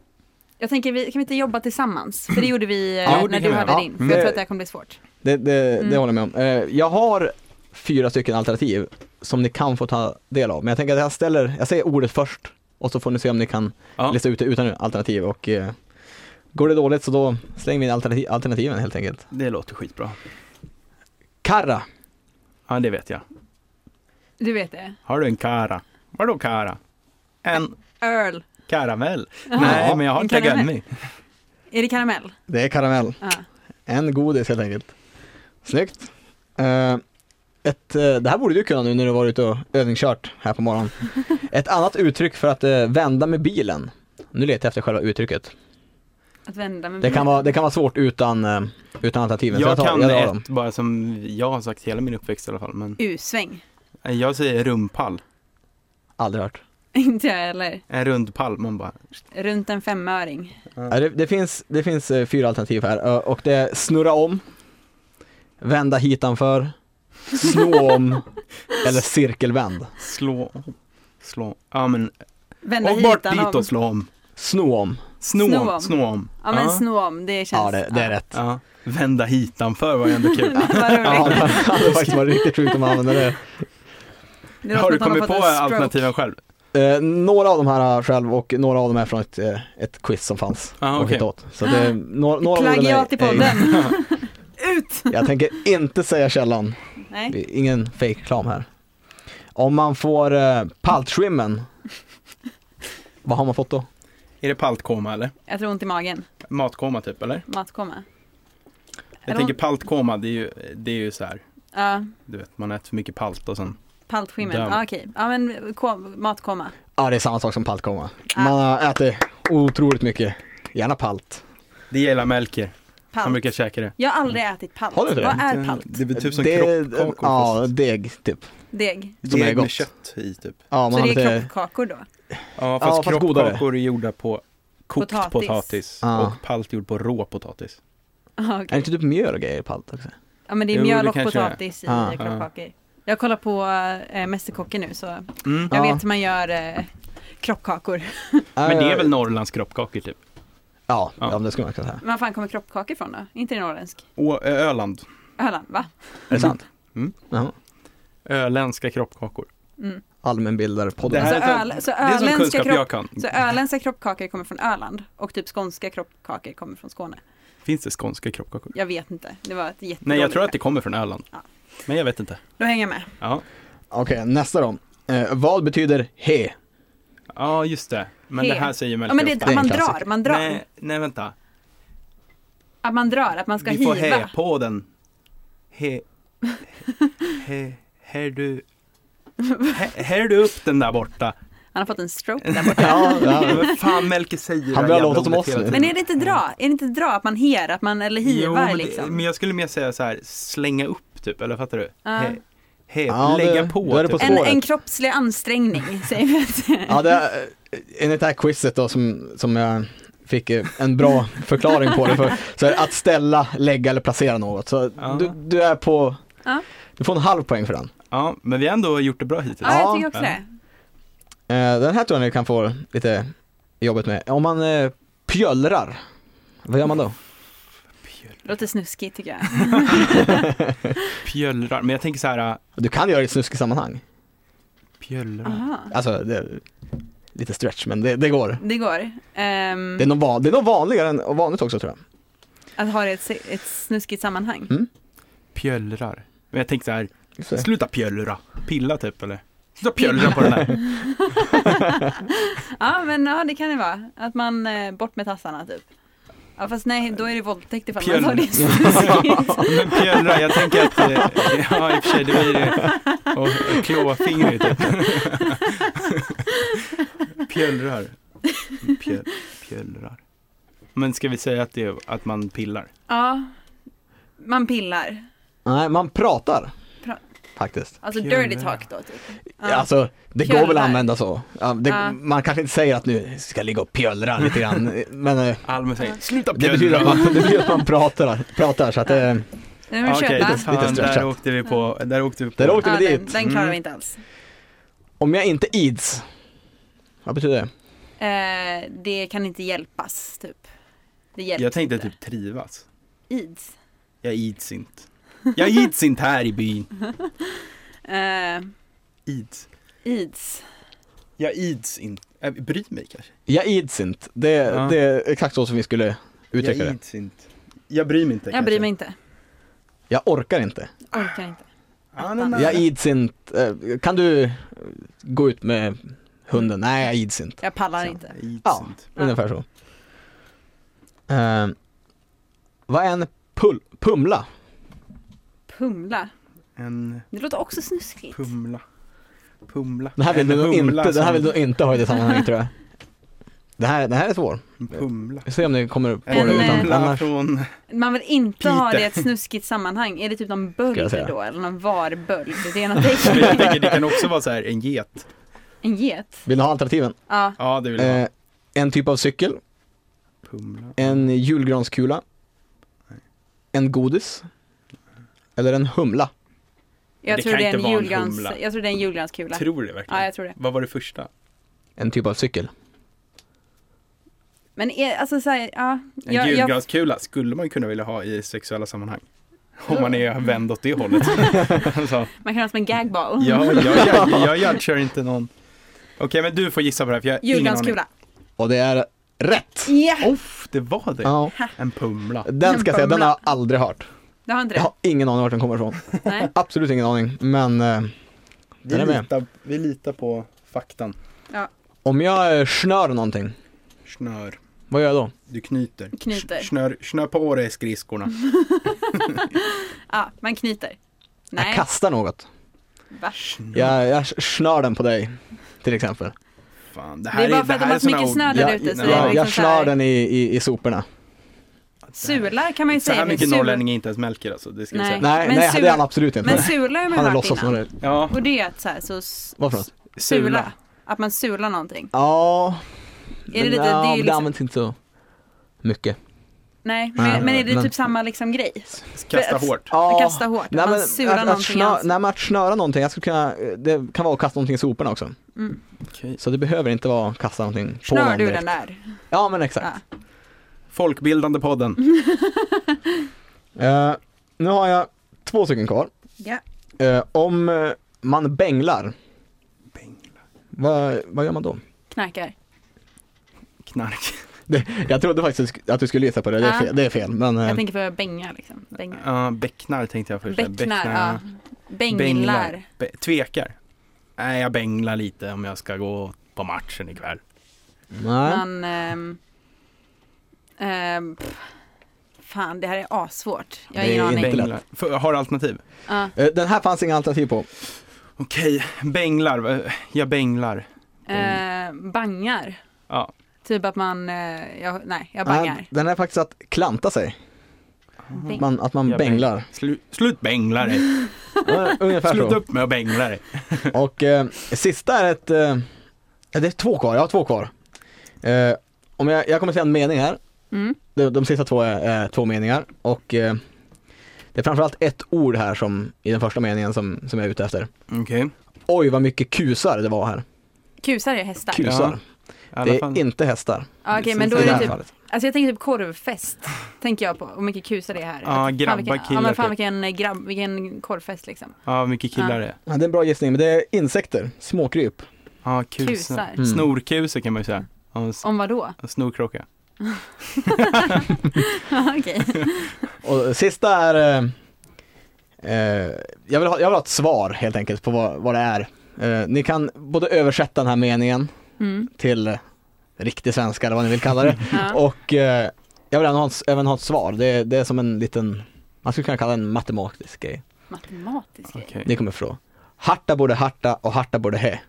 S2: Jag tänker, vi, kan vi inte jobba tillsammans? För det gjorde vi eh,
S1: Ja, det
S2: när
S1: kan
S2: du
S1: vi
S2: hade
S3: göra.
S2: din.
S3: Ja.
S2: För
S3: Mm.
S2: jag tror att det här kommer bli svårt.
S3: Det, det, det
S2: Mm.
S3: håller jag med om. Eh, jag har fyra stycken alternativ som ni kan få ta del av. Men jag tänker att jag ställer, jag säger ordet först och så får ni se om ni kan
S1: Ja.
S3: lista ut det utan alternativ och eh, går det dåligt så då slänger vi in alternativ, alternativen helt enkelt.
S1: Det låter skitbra.
S3: Karra,
S1: Ja det vet jag.
S2: Du vet det.
S1: Har du en kara? Vadå kara? En
S2: Earl.
S1: karamell? Nej men jag har
S2: en
S1: inte
S2: karamell.
S1: gummi.
S2: Är det karamell?
S3: det är karamell.
S2: Ja.
S3: En godis helt enkelt. Snyggt. Eh, ett, eh, det här borde du kunna nu när du varit ute och övningskört här på morgonen. Ett annat uttryck för att eh, vända med bilen. Nu letar jag efter själva uttrycket.
S2: Att vända med
S3: Det kan vara, det kan vara svårt utan, eh, utan alternativen. så
S1: Mhm. Jag
S3: tar-
S1: kan
S3: jag tar dem.
S1: ett bara som jag har sagt hela min uppväxt i alla fall men
S2: U-sväng.
S1: jag säger rumpall.
S3: Aldrig hört.
S2: inte jag heller.
S1: En rund pall man bara.
S2: Runt en femöring.
S3: Ja, Det, det, finns, det finns eh, fyra alternativ här eh, och det är snurra om, vända hitanför, snå om eller cirkelvänd.
S1: Slå om. Slå. Ja men.
S2: Vända
S1: Och bort
S2: hitan
S1: dit
S2: om.
S1: och slå om.
S3: Snå om.
S1: Snå
S2: Snå
S1: om.
S2: om.
S1: Snå om.
S2: Ja men snå om, det känns.
S3: Ja, det, det är rätt.
S1: Ja, vända hitanför var ju ändå kul.
S2: Vad roligt.
S3: Ja, det hade faktiskt varit riktigt sjukt om man använde det.
S2: Det låter
S1: Har du
S2: som att han
S1: kommit på
S2: fått en stroke.
S1: alternativen själv?
S3: Eh, några av de här har jag själv och några av dem är från ett, eh, ett quiz som fanns.
S1: Ah,
S3: och
S1: okej.
S3: hitta åt. Så det, några, några av orden är-
S2: Plagiat i podden.
S3: är-
S2: Ut!
S3: Jag tänker inte säga källan.
S2: Nej.
S3: Det är Ingen fake reklam här. Om man får eh, paltskimmen, vad har man fått då?
S1: Är det paltkoma eller?
S2: Jag tror ont i magen.
S1: Matkoma typ eller?
S2: Matkoma.
S1: Jag
S2: Eller-
S1: tänker paltkoma, det är ju, det är ju så här,
S2: Ja,
S1: du vet man äter för mycket palt och sen.
S2: paltskimmen.
S1: Döm.
S2: Ja okej. Ja men kom, matkoma.
S3: Ja, Ah, det är samma sak som paltkomma.
S2: Ah.
S3: Man har ätit otroligt mycket, gärna palt.
S1: Det gillar Melker, han
S2: Palt.
S1: brukar käka det.
S2: Jag har aldrig
S1: Mm.
S2: ätit palt.
S3: Har du inte det?
S2: Vad är palt?
S1: Det blir typ som
S3: det,
S1: kroppkakor
S3: Ja,
S1: fast
S3: deg typ.
S2: Deg.
S1: det
S3: som är
S1: är
S3: gott.
S1: med kött i typ.
S3: Ja,
S2: Så
S3: har
S2: det
S3: lite-
S2: är kroppkakor då?
S1: Ja fast,
S3: fast godare.
S1: kroppkakor är gjorda på kokt potatis,
S2: Potatis.
S3: Ja.
S1: och palt gjord på rå potatis.
S2: Ja,
S3: Är det
S2: okej.
S3: inte typ mjöl och grejer i palt också?
S2: Ja men det är
S1: Jo, det
S2: mjöl och
S1: kanske är.
S2: potatis i
S3: Ah,
S2: ah, kroppkakor. Jag kollar på äh, Mästerkocken nu så jag
S1: Mm.
S3: Ja.
S2: vet hur man gör äh, kroppkakor.
S1: Men
S3: Äh.
S1: det är väl Norrlands kroppkakor typ?
S3: Eh, Ja,
S1: Ja.
S3: ja. det skulle man kunna säga.
S2: Var fan kommer kroppkakor ifrån då? Inte i norrländsk?
S1: Och Ö- Öland,
S2: Öland va?
S3: Är det sant?
S1: Mm.
S3: Jaha.
S1: öländska kroppkakor.
S2: Mm.
S1: Det
S3: Allmänbildarpodden.
S1: här
S2: Så,
S1: är så-
S2: öl, så,
S1: Det är som
S2: öländska
S1: kunskap
S2: kropp,
S1: jag kan.
S2: så öländska kroppkakor kommer från Öland och typ skånska kroppkakor kommer från Skåne.
S1: Finns det skånska kroppkakor?
S2: Jag vet inte. Det var ett jättedåligt
S1: Nej jag tror att det
S2: skämt.
S1: kommer från Öland.
S2: Ja.
S1: Men jag vet inte.
S2: Då hänger jag med.
S1: Ja,
S3: Okej, nästa då. Eh, vad betyder he?
S1: ja just det. Men
S2: He.
S1: det här säger
S2: Ja,
S1: Melker
S2: men det,
S1: ofta.
S3: Det är
S2: att
S3: en
S2: man
S3: klassiker.
S2: drar, man drar.
S1: Nej, nej vänta.
S2: Att man drar, att man ska
S1: Vi får
S2: hiva.
S1: he på den. He, He, här du... He, här du upp den där borta.
S2: Han har fått en stroke där borta.
S3: ja, ja.
S1: Vad fan Melker säger det
S3: Han börjar
S1: jävla
S3: låta som
S1: ordet
S3: oss
S1: hela
S3: nu.
S1: tiden.
S2: Men är det inte dra? Är det inte dra att man her, att man, eller
S1: Jo,
S2: hivar
S1: men, det-
S2: liksom?
S1: men jag skulle mer säga så här, slänga upp typ, eller fattar du?
S2: Ja.
S1: He, he,
S3: Ja,
S1: lägga
S3: det-
S1: på.
S3: då är det på
S1: typ.
S2: En,
S3: spåret.
S2: en kroppslig ansträngning, säger vi. att-
S3: Ja, det, är- enligt det här quizet då som, som jag fick eh, en bra förklaring på det för. Så här, att ställa, lägga eller placera något. Så
S1: Ja.
S3: du, du är på,
S2: Ja.
S3: du får en halv poäng för den.
S1: Ja, men vi har ändå gjort det bra hittills.
S2: Ja, jag
S3: Ja.
S2: tycker också det.
S3: Eh, Den här tror jag ni kan få lite jobbigt med. Om man eh, pjöllrar, vad gör man då?
S2: Låter snuskigt tycker jag.
S1: Pjöllrar, men jag tänker så här, äh,
S3: Du kan göra det i ett snuskigt sammanhang.
S1: pjöllrar.
S2: Aha.
S3: Alltså, det är lite stretch men det, det går.
S2: Det går. Ehm,
S3: Det är, nog van, det är nog vanligare än och vanligt också tror jag.
S2: Att ha det i ett, se- ett snuskigt sammanhang.
S1: Pjöllrar. Men jag tänker så här,
S3: Just det.
S1: sluta pjöllra. Pilla typ eller? Sluta pjöllra på den här.
S2: Ja, men ja, det kan det vara. Att man, eh, bort med tassarna typ. Ja, fast nej, då är det våldtäkt ifall man
S1: Pjöl.
S2: tar det snuskigt.
S1: Men pjöllra, jag tänker att, eh, ja i och för sig det blir det. Och klå fingret typ. Pjöllrar. Pjöl, pjöllrar. Men ska vi säga att det är att man pillar?
S2: Ja, man pillar.
S3: Nej, man pratar.
S2: Pra-
S3: Faktiskt.
S2: Alltså
S1: Pjöl.
S2: dirty talk då typ.
S3: Ja. Alltså, det går väl
S2: Pjöllrar.
S3: att använda så. Ja, det,
S2: Ja.
S3: Man kanske inte säger att nu ska jag ligga och pjöllra lite grann, men eh,
S1: Almen säger, sluta
S3: det betyder, att
S1: pjöllra.
S3: man, det betyder att man pratar, pratar så att eh,
S2: Nu vill
S1: Ja,
S2: vi
S1: Okej,
S2: köpa.
S1: fan, Mm.
S3: Lite stretchat.
S1: där åkte vi på, där åkte vi på.
S3: Där åkte
S2: Ja,
S3: vi
S2: den,
S3: dit.
S2: den klarar vi inte alls.
S3: Om jag inte ids, vad betyder det?
S2: Eh, det kan inte hjälpas typ. Det hjälps
S1: Jag tänkte
S2: inte.
S1: typ trivas.
S2: Ids.
S1: Jag ids inte. Jag ids inte här i byn.
S2: Eh,
S1: Ids.
S2: ids.
S1: Jag ids inte. Äh, bryr mig kanske.
S3: Jag ids inte, det,
S1: Ja.
S3: det är exakt så som vi skulle uttrycka
S1: jag
S3: det.
S1: ids inte. Jag bryr mig inte
S2: Jag bryr mig inte.
S3: Jag orkar inte.
S2: Orkar inte.
S1: Ah, nej, nej.
S3: Jag ids inte, eh, kan du eh, gå ut med hunden? Nej, jag ids inte.
S2: Jag pallar
S3: Så.
S2: inte.
S1: Jag ids
S3: Ja.
S1: inte.
S3: Ungefär så. Eh, vad är en pul- pumla?
S2: Pumla.
S1: En
S2: Det låter också snuskigt.
S1: pumla. Pumla.
S3: Den här vill
S1: en
S3: du nog
S1: humla
S3: inte, den här vill
S1: som-
S3: du inte ha i det sammanhanget tror jag. Det här, det här är svår.
S1: En pumla.
S3: Vi får se om ni kommer på
S1: En eh,
S2: Pumla.
S3: det utan
S1: humla
S3: annars.
S1: från...
S2: Man vill inte ha
S1: Peter.
S2: det i ett snuskigt sammanhang. Är det typ någon
S3: Ska jag
S2: böld
S3: säga.
S2: då? Eller någon varböld? Det är något
S1: Men jag tänker,
S2: äckligt.
S1: det kan också vara så här en get.
S2: En get?
S3: Vill du ha alternativen?
S2: Ja.
S1: Ja, det vill jag ha.
S3: Eh, en typ av cykel,
S1: Pumla.
S3: en julgranskula, en godis eller en humla.
S2: Jag
S1: Det
S2: tror
S1: kan
S2: det är
S1: inte
S2: en
S1: vara en
S2: julgrans...
S1: humla.
S2: Jag tror det är en julgranskula.
S1: Tror det verkligen?
S2: Ja, jag tror det.
S1: Vad var det första?
S3: En typ av cykel.
S2: Men är, alltså så här, ja.
S1: En
S2: jag- jag-
S1: julgranskula skulle man ju kunna vilja ha i sexuella sammanhang. Om man är vänd åt det hållet. så,
S2: Man kan ha det som en gagball.
S1: ja, jag, jag, jag, jag kör inte någon. Okej, men du får gissa på det här för jag har ingen aning.
S2: Julgranskula.
S3: Och det är rätt!
S2: Ja!
S1: Off, det var det.
S3: Ja.
S1: En pumla.
S3: Den ska jag säga, den har jag aldrig hört.
S2: Du har inte
S3: Jag
S2: det?
S3: har ingen aning vart den kommer ifrån.
S2: Nej.
S3: Absolut ingen aning. Men eh,
S1: Vi
S3: Den är med.
S1: litar, vi litar på faktan.
S3: om jag eh, snör någonting,
S1: Snör.
S3: vad gör jag då?
S1: Du knyter.
S2: Knyter. Mm.
S1: Sh- Snör, snör på dig skridskorna.
S2: Ja, man knyter.
S3: Jag
S2: Nej.
S3: kastar något.
S2: Va?
S1: Snör.
S3: Jag, jag snör den på dig, till exempel.
S1: Fan, det
S2: Det
S1: här
S2: är bara
S1: det
S2: för att de
S1: här
S2: har så
S1: såna
S2: mycket
S1: ord-
S2: snö där
S1: Ja,
S2: ute, så
S1: nej,
S2: det är
S3: Jag,
S2: liksom
S3: jag
S2: så här-
S3: snör den i, i, i soporna.
S2: Sular kan man ju
S1: Så
S2: säga.
S1: här
S2: men
S1: mycket
S2: sula-
S1: norrlänning är inte ens Melker alltså, det ska vi
S2: Nej.
S1: säga.
S3: Nej,
S2: Men
S3: nej
S2: sur-
S3: det är han absolut inte.
S2: Men sula har man
S3: han
S2: ju
S3: har
S2: hört
S3: låtsats vara
S2: innan.
S3: det.
S1: Ja,
S2: Och det är att så här, så s-
S3: Vad för något?
S1: sula.
S2: sula. Att man sular någonting.
S3: Ja,
S2: Är det lite, det
S3: ja,
S2: är ju liksom,
S3: används inte så mycket.
S2: nej,
S3: Nej,
S2: men, men är det
S3: men-
S2: typ samma liksom grej?
S1: Kasta hårt.
S2: Man kastar hårt,
S3: Nej,
S2: man
S3: men
S2: surar
S3: att, att,
S2: någonting i
S3: snö,
S2: ansiktet.
S3: nej men att snöra någonting, jag skulle kunna, det kan vara att kasta någonting i soporna också.
S1: Okej.
S3: Så det behöver inte vara att kasta någonting på
S2: Snör
S3: någon
S2: du den
S3: direkt.
S2: där?
S3: Ja men exakt.
S1: Folkbildande podden.
S2: Mhm.
S3: Eh, nu har jag två stycken kvar.
S2: Ja.
S3: Eh, om eh, man bänglar,
S1: Bäng,
S3: vad, vad gör man då?
S2: Knarkar.
S1: Knark.
S3: Det, jag trodde faktiskt att du skulle gissa på det, det är
S2: Ja.
S3: fel, det är fel men eh,
S2: Jag tänker på bänga liksom. Bänga.
S1: Ja, bäcknar tänkte jag först.
S2: Bäcknar, ja.
S1: Bänglar.
S2: Bänglar.
S1: Be- tvekar. Nej, jag bänglar lite om jag ska gå på matchen ikväll.
S3: nej.
S2: Man... ehm, ehm, pff, Fan, det här är assvårt. Jag har
S3: Det
S2: ingen
S3: är
S2: aning.
S3: inte lätt.
S1: Benglar. För- Har du alternativ?
S2: Ja.
S3: Eh, Den här fanns inga alternativ på.
S1: Okej, bänglar. Eh, Jag bänglar.
S2: Eh, bangar.
S1: Ja.
S2: Typ att man, eh, jag, nej, jag
S3: Nej,
S2: bangar.
S3: Eh, Den är faktiskt att klanta sig.
S2: Bäng-
S3: Man, att man
S1: Jag
S3: bänglar.
S1: Slu, slut bängla dig.
S3: Ja, Ungefär
S1: Sluta
S3: så.
S1: upp med att bängla dig.
S3: Och eh, sista är ett, eh, ja, det är två kvar, jag har två kvar. Eh, om jag, jag kommer säga en mening här.
S2: Mm.
S3: De, de sista två är eh, två meningar och eh, det är framförallt ett ord här som, i den första meningen som, som jag är ute efter.
S1: Okej.
S3: Oj vad mycket kusar det var här.
S2: Kusar är hästar.
S1: Kul.
S3: Kusar.
S1: i alla
S3: det
S1: fall.
S3: är inte hästar.
S2: Ja, Okej, men då
S3: I
S2: är
S3: det
S2: det
S3: här
S2: typ,
S3: fallet.
S2: alltså jag tänker typ korvfest. tänker jag på, hur mycket kusar det är här.
S1: Ja,
S2: Fan,
S1: grabbar,
S2: vilken, Ja,
S1: killar,
S2: men fan
S1: typ.
S2: vilken, grabb, vilken korvfest liksom.
S1: Ja, mycket killar det är.
S3: Ja, det är en bra gissning men det är insekter, småkryp.
S1: Ja, kusar.
S2: Kusar.
S3: Mm.
S1: Snorkusar kan man ju säga. Ja, en s-
S2: Om vad då?
S1: en Snorkråka.
S2: Ja, Okej.
S3: Och sista är, eh, eh, jag, vill ha, jag vill ha ett svar helt enkelt på vad, vad det är. Eh, ni kan både översätta den här meningen
S2: Mm.
S3: till eh, riktig svenska eller vad ni vill kalla det.
S2: Ja.
S3: Och eh, jag vill även ha, ett- även ha ett svar, det, det är som en liten, man skulle kunna kalla det en matematisk grej.
S2: Matematisk grej.
S1: Okej.
S3: Ni kommer ifrån. Harta borde harta och harta borde he.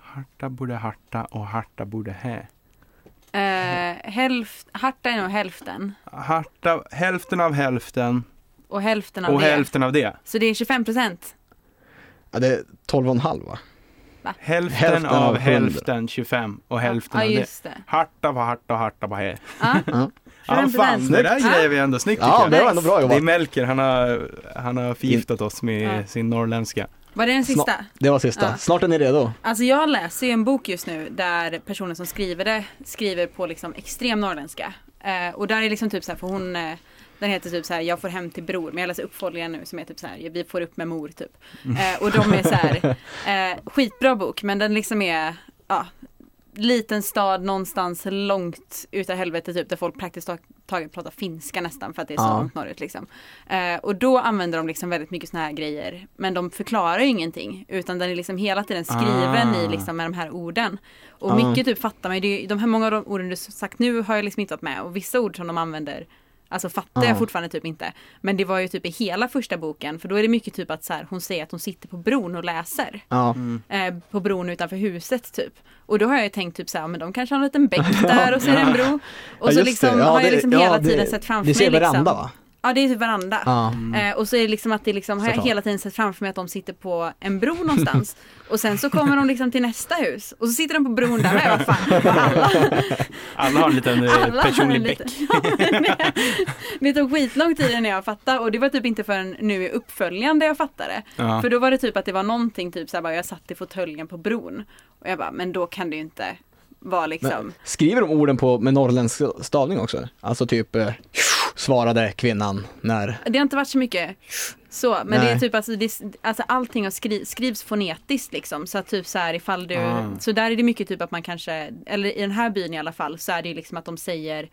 S1: Harta borde harta och harta borde hä.
S2: Eh, hälft, harta är nog hälften.
S1: Harta, hälften av hälften
S2: Och hälften av
S1: och
S2: det.
S1: hälften av det.
S2: Så det är 25 procent.
S3: Ja, det är 12,5 va?
S1: Hälften,
S3: Hälften
S1: av,
S3: av
S1: hälften, 25 och hälften
S2: ja,
S1: av det.
S2: just det.
S1: Harta var harta och harta var hä.
S2: Ja.
S3: Ja.
S1: Ja,
S2: 25
S1: fan, det där
S2: Ja.
S1: grejer vi ändå snyggt
S3: Ja,
S1: tycker
S3: det
S1: jag.
S3: var ändå bra
S1: Det är
S3: jobbat.
S1: Melker, han har, han har förgiftat oss med
S2: Ja.
S1: sin norrländska.
S2: Var det den sista?
S3: Det var sista.
S2: Ja.
S3: Snart är ni redo.
S2: Alltså jag läser ju en bok just nu där personen som skriver det skriver på liksom extrem norrländska. Eh, och där är liksom typ så här, för hon, eh, den heter typ så här, jag får hem till bror. Men jag läser uppföljaren nu som är typ så här, vi får upp med mor typ. Eh, och de är så här, eh, skitbra bok men den liksom är, ja, liten stad någonstans långt utav helvete typ där folk praktiskt taget pratar finska nästan för att det är så
S3: Ja.
S2: långt norrut liksom. Eh, och då använder de liksom väldigt mycket såna här grejer men de förklarar ju ingenting utan den är liksom hela tiden skriven
S1: Ah.
S2: i liksom med de här orden. Och
S3: Ah.
S2: mycket typ fattar man ju, det är ju, de här många av de orden du sagt nu har jag liksom inte varit med och vissa ord som de använder Alltså fattar
S3: Ah.
S2: jag fortfarande typ inte. Men det var ju typ i hela första boken för då är det mycket typ att så här, hon säger att hon sitter på bron och läser
S3: Ja.
S2: eh, på bron utanför huset typ. Och då har jag ju tänkt typ så här, men de kanske har en liten bäck där och så är det en bro. Och så
S3: just
S2: liksom
S3: det. Ja,
S2: har jag
S3: det-
S2: liksom
S3: ja,
S2: hela
S3: det-
S2: tiden sett framför
S3: Det ser
S2: mig
S3: veranda
S2: liksom.
S3: va?
S2: Ja det är typ veranda.
S3: Ja.
S1: Mm.
S2: Eh, och så är det liksom att det liksom, har jag
S3: Såklart.
S2: hela tiden sett framför mig att de sitter på en bro någonstans. och sen så kommer de liksom till nästa hus och så sitter de på bron där med. Vad fan, alla,
S1: Alla har en liten eh,
S2: alla har en
S1: personlig bäck.
S2: liten- Ja, men det- Det tog skitlång tid innan jag fattade och det var typ inte förrän nu i uppföljande jag fattade.
S1: Ja.
S2: För då var det typ att det var någonting typ såhär bara jag satt i fåtöljen på bron. Och jag bara men då kan det ju inte vara liksom.
S3: Men, skriver de orden på med norrländsk stavning också? Alltså typ eh, svarade kvinnan när
S2: Det har inte varit så mycket så. Men det är
S3: Nej.
S2: typ alltså, det, alltså allting har skri, skrivs fonetiskt liksom. Så att typ så här ifall du,
S1: Ah.
S2: så där är det mycket typ att man kanske, eller i den här byn i alla fall så är det ju liksom att de säger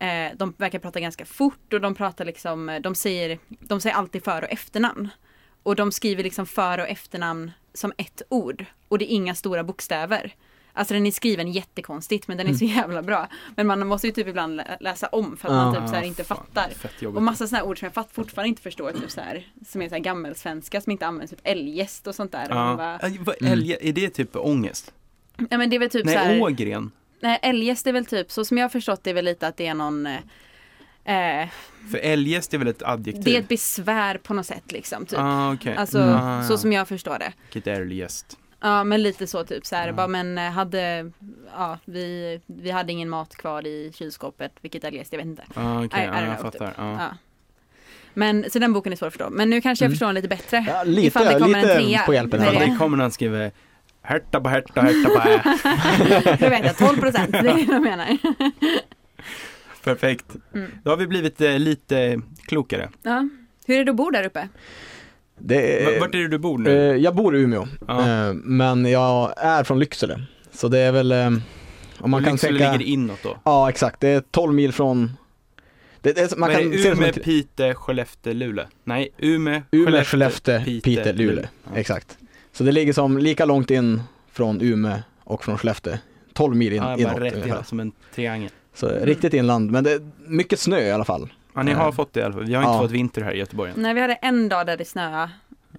S2: Eh, de verkar prata ganska fort och de pratar liksom, eh, de säger, de säger alltid för och efternamn. Och de skriver liksom för och efternamn som ett ord. Och det är inga stora bokstäver. Alltså den är skriven jättekonstigt men den är så
S1: Mm.
S2: jävla bra. Men man måste ju typ ibland lä- läsa om för att man
S3: Ja.
S2: typ så här inte
S1: Ah, Fan,
S2: fattar.
S1: Fett jobbigt.
S2: Och massa sådana här ord som jag fatt, fortfarande inte förstår, typ så här, som är så här gammelsvenska som inte används, typ eljest och sånt där. Och man
S1: Ja.
S2: bara,
S1: Äh, vad-
S3: Mm.
S1: älge- Är det typ ångest?
S2: ja men det är väl typ så
S1: Nej,
S2: här,
S1: ågren.
S2: nej eljest är väl typ, så som jag har förstått det är väl lite att det är någon eh, eh,
S1: För eljest är väl ett adjektiv?
S2: Det är ett besvär på något sätt liksom. Typ.
S1: Ah, okej.
S2: Alltså
S1: Ah,
S2: så som jag förstår det.
S1: Vilket eljest.
S2: Ja men lite så typ så här,
S1: Ja.
S2: bara men eh, hade, ja vi, vi hade ingen mat kvar i kylskåpet, vilket eljest, jag vet inte.
S1: Ah, okej,
S2: I- I
S1: ja,
S2: don't
S1: jag
S2: know, typ.
S1: fattar. Ja.
S2: Ja. Men så den boken är svår att förstå. Men nu kanske jag
S3: Mm.
S2: förstår den lite bättre.
S3: Ja, lite-
S2: ifall det kommer
S3: lite
S2: en trea.
S3: på hjälpen här.
S1: Ifall
S2: Nej,
S1: det kommer när han skriver Herta på herta, herta på hä.
S2: Du vet jag, 12 procent, det är det jag menar.
S1: Perfekt.
S2: Mm.
S1: Då har vi blivit eh, lite klokare.
S2: Ja. Hur är det att bo där uppe?
S3: det
S1: V-
S3: är,
S1: Vart är det du bor
S3: eh,
S1: nu?
S3: Jag bor i Umeå,
S1: Ja.
S3: eh, men jag är från Lycksele. Så det är väl, eh, om man kan
S1: Lycksele
S3: tänka,
S1: ligger inåt då.
S3: ja exakt, det är 12 mil från, det, det är, man
S1: Man
S3: kan
S1: kan
S3: se det som
S1: Umeå,
S3: en,
S1: Piteå, Skellefteå, Luleå. Nej, Umeå,
S3: Umeå, Skellefteå,
S1: Piteå,
S3: Piteå, Luleå.
S1: Ja.
S3: Exakt. Så det ligger som lika långt in från Umeå och från Skellefteå, 12 mil in,
S1: Ja, jag bara
S3: inåt
S1: rätt
S3: ungefär.
S1: in, som en triangel.
S3: Så riktigt inland, men det är mycket snö i alla fall.
S1: Ja, ni har fått det i alla fall. Vi har inte
S3: Ja. Mm,
S1: fått vinter här i Göteborg än.
S2: Nej, vi hade en dag där det snöade.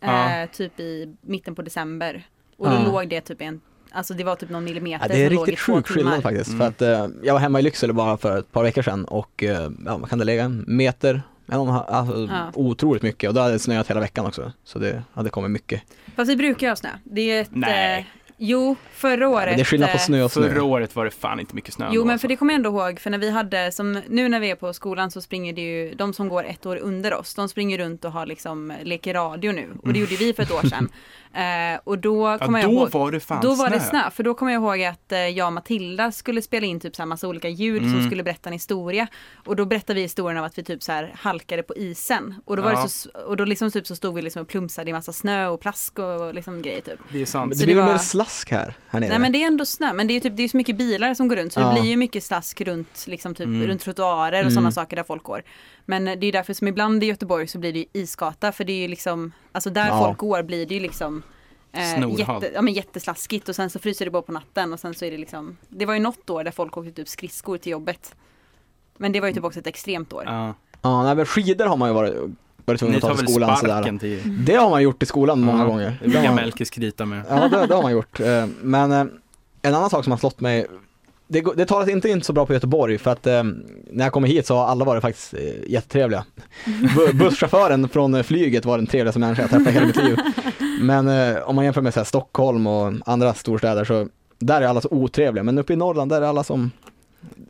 S1: Ja.
S2: Eh, typ i mitten på december. Och då
S3: Ja.
S2: låg det typ i en, alltså det var typ någon millimeter
S3: Ja, det är
S2: som låg i
S3: riktigt
S2: två
S3: sjuk skillnad
S2: timmar.
S3: faktiskt.
S1: Mm.
S3: För att eh, jag var hemma i Lycksele bara för ett par veckor sedan och eh, ja, vad kan det lägga en meter? En och en halv, alltså,
S2: Ja.
S3: Otroligt mycket och då hade det snöat hela veckan också. Så det hade kommit mycket.
S2: Fast vi brukar ju ha snö. Det är ett,
S1: Nej.
S2: eh, jo, förra
S3: Ja,
S2: året.
S3: men det är skillnad på
S2: eh,
S3: snö och snö.
S1: Förra året var det fan inte mycket snö.
S2: Jo
S1: ändå,
S2: men
S1: alltså.
S2: för det kommer jag ändå ihåg för när vi hade som nu när vi är på skolan så springer det ju de som går ett år under oss de springer runt och har liksom leker radio nu och
S3: Mm.
S2: det gjorde vi för ett år sedan. Eh, och då
S1: ja,
S2: kommer jag
S1: då
S2: ihåg
S1: var det fan
S2: då var det snö, för då kommer jag ihåg att eh, jag och Matilda skulle spela in typ så här massa olika ljud som
S1: Mm.
S2: skulle berätta en historia. Och då berättade vi historien om att vi typ så här halkade på isen. Och då, var
S1: Ja.
S2: det så, och då liksom typ så stod vi liksom och plumsade i massa snö och plask och liksom grejer typ.
S1: Det är sant.
S3: Men
S2: Så
S3: det blir
S2: det
S3: väl
S2: var-
S3: mer slask här, här nere?
S2: Nej men det är ändå snö, men det är ju typ, det är ju så mycket bilar som går runt så
S3: Ja.
S2: det blir ju mycket slask runt, liksom typ,
S1: Mm.
S2: runt trottoarer och
S3: Mm.
S2: sådana saker där folk går. Men eh, det är ju därför som ibland i Göteborg så blir det ju isgata för det är ju liksom, alltså där
S3: Ja.
S2: folk går blir det ju liksom eh,
S1: Snorhalt.
S2: jätte, ja, men jätteslaskigt och sen så fryser det bara på natten och sen så är det liksom, det var ju något år där folk åkte typ skridskor till jobbet. Men det var ju typ också ett extremt år.
S1: Ja.
S3: Ja, nej, men skidor har man ju varit, varit tvungen
S1: Ni
S3: att ta
S1: tar
S3: till
S1: väl
S3: skolan sådär.
S1: sparken till...
S3: Det har man gjort i skolan många
S1: Ja,
S3: gånger.
S1: Det brukar
S3: har-
S1: Melker skryta med.
S3: Ja, det, det har man gjort. Eh, Men eh, en annan sak som har slått mig, det, går- det talas inte in så bra på Göteborg för att eh, när jag kommer hit så har alla varit faktiskt eh, jättetrevliga. Bu- Busschauffören från eh, flyget var den trevligaste människan jag träffat i hela mitt liv. Men eh, om man jämför med så här, Stockholm och andra storstäder så där är alla så otrevliga, men uppe i Norrland där är alla som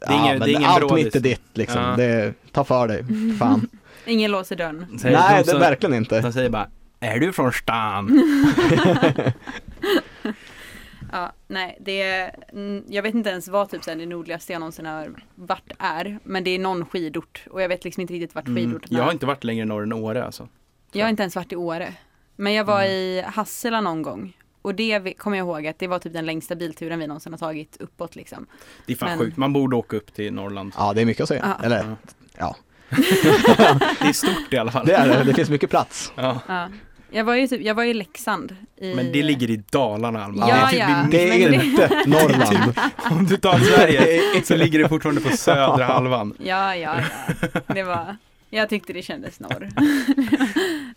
S1: är ingen-
S3: men
S1: det är ingen
S3: allt
S1: brådis.
S3: mitt är ditt liksom.
S1: Ja.
S3: Det, ta för dig, fan.
S2: Ingen låser dörren.
S1: Säger
S3: Nej,
S1: de,
S3: det
S1: som-
S3: är verkligen inte.
S1: de säger bara, är du från
S2: Mm.
S1: stan?
S2: Ja, nej, det är, mm, jag vet inte ens vad typ så här det nordligaste jag någonsin har varit är. Men det är någon skidort och jag vet liksom inte riktigt vart
S1: Mm.
S2: skidorten
S1: Jag har
S2: är.
S1: inte varit längre norr än Åre alltså.
S2: Jag har inte ens varit i Åre. Men jag
S1: Mm.
S2: var i Hassela någon gång. Och det vi- kommer jag ihåg att det var typ den längsta bilturen vi någonsin har tagit uppåt liksom.
S1: Det är fan
S2: Men-
S1: sjukt, man borde åka upp till Norrland.
S3: Ja, det är mycket att säga.
S2: Ja.
S3: Eller,
S1: Ja.
S3: ja.
S1: Det är stort i alla fall.
S3: Det är det, det finns mycket plats.
S1: Ja.
S2: Ja. Jag var ju typ, jag var i Leksand. I...
S1: Men det ligger i Dalarna Alma.
S2: Ja,
S1: Det är typ
S2: ja.
S1: i-
S3: Det är
S2: Men det-
S3: inte Norrland.
S1: Om du tar Sverige så ligger det fortfarande på södra halvan.
S2: Ja, ja, ja. Det var, jag tyckte det kändes norr.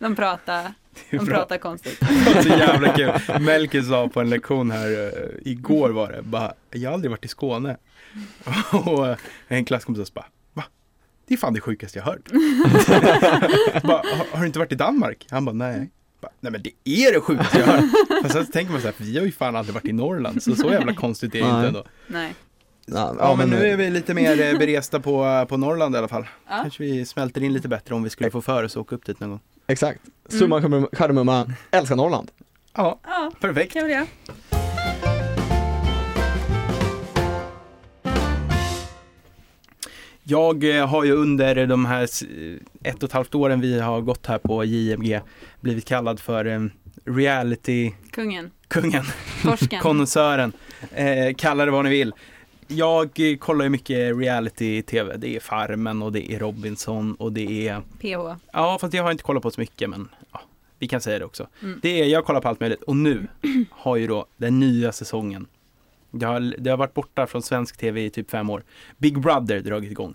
S2: de pratade,
S1: Det är
S2: de
S1: bra.
S2: pratade konstigt.
S1: Så jävla kul. Melker sa på en lektion här, eh, igår var det, bara, jag har aldrig varit i Skåne. Och eh, en klasskompis bara, va? Det är fan det sjukaste jag hört. bara, har, har du inte varit i Danmark? Han bara, nej. Bara, nej men det är det sjukaste jag hört. Fast sen så tänker man så här, vi har ju fan aldrig varit i Norrland, så så jävla konstigt är det
S3: Nej.
S1: inte ändå.
S2: Nej.
S3: Ja,
S1: Ja men nu är vi lite mer eh, beresta på, på Norrland i alla fall.
S2: Ja.
S1: Kanske vi smälter in lite bättre om vi skulle få för oss att åka upp dit någon gång.
S3: Exakt. Summa mm. kardemumma, älskar Norrland.
S1: Ja,
S2: Ja,
S1: perfekt.
S2: kul ja.
S1: Jag eh, har ju under de här s- eh, ett och ett halvt åren vi har gått här på JMG blivit kallad för eh, reality-kungen,
S2: Kungen, torsken.
S1: konnässören, eh, kalla det vad ni vill. Jag eh, kollar ju mycket reality-tv. Det är Farmen och det är Robinson och det är
S2: PH.
S1: Ja, fast jag har inte kollat på så mycket, men ja, vi kan säga det också.
S2: Mm.
S1: Det är, jag kollar på allt möjligt och nu har ju då den nya säsongen, det har, det har varit borta från svensk tv i typ fem år, Big Brother dragit igång.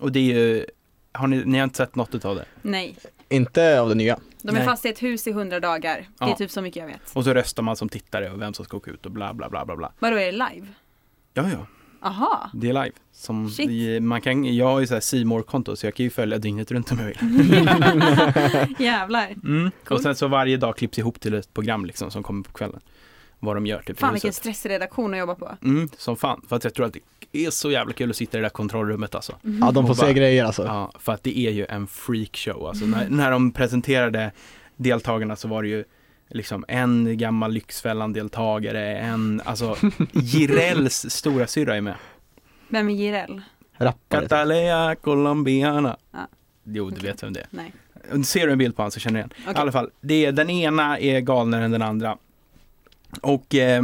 S1: Och det är ju, har ni, ni har inte sett något utav det?
S2: Nej,
S3: Inte av det nya.
S2: de är
S1: Nej.
S2: fast i ett hus i hundra dagar. Det är
S1: Ja.
S2: typ så mycket jag vet.
S1: Och så röstar man som tittare och vem som ska åka ut och bla bla bla bla bla.
S2: Vadå, är det live?
S1: Ja, ja,
S2: Aha.
S1: det är live. Som
S2: Shit.
S1: vi, man kan, jag har ju så här C konto så jag kan ju följa dygnet runt om jag vill.
S2: Mm. Jävlar.
S1: Mm.
S2: Cool.
S1: Och sen så varje dag klipps ihop till ett program liksom som kommer på kvällen. Vad de gör typ i
S2: Fan
S1: huset.
S2: vilken stressig redaktion att jobba på.
S1: Mm, som fan. För att jag tror att det är så jävla kul att sitta i det där kontrollrummet alltså.
S3: Ja, de får
S1: Och bara-
S3: se grejer alltså.
S1: Ja, för att det är ju en freakshow alltså. När, när de presenterade deltagarna så var det ju liksom en gammal Lyxfällan-deltagare, en, alltså Jirels stora syrra är med.
S2: Vem är Jireel?
S3: Rappare. typ.
S1: Catalea Colombiana.
S2: Ja.
S1: Jo, du
S2: Okej.
S1: vet vem det är.
S2: Nej.
S1: Och Ser du en bild på honom så känner du igen.
S2: Okej.
S1: I alla fall, det, är- den ena är galnare än den andra. Och eh,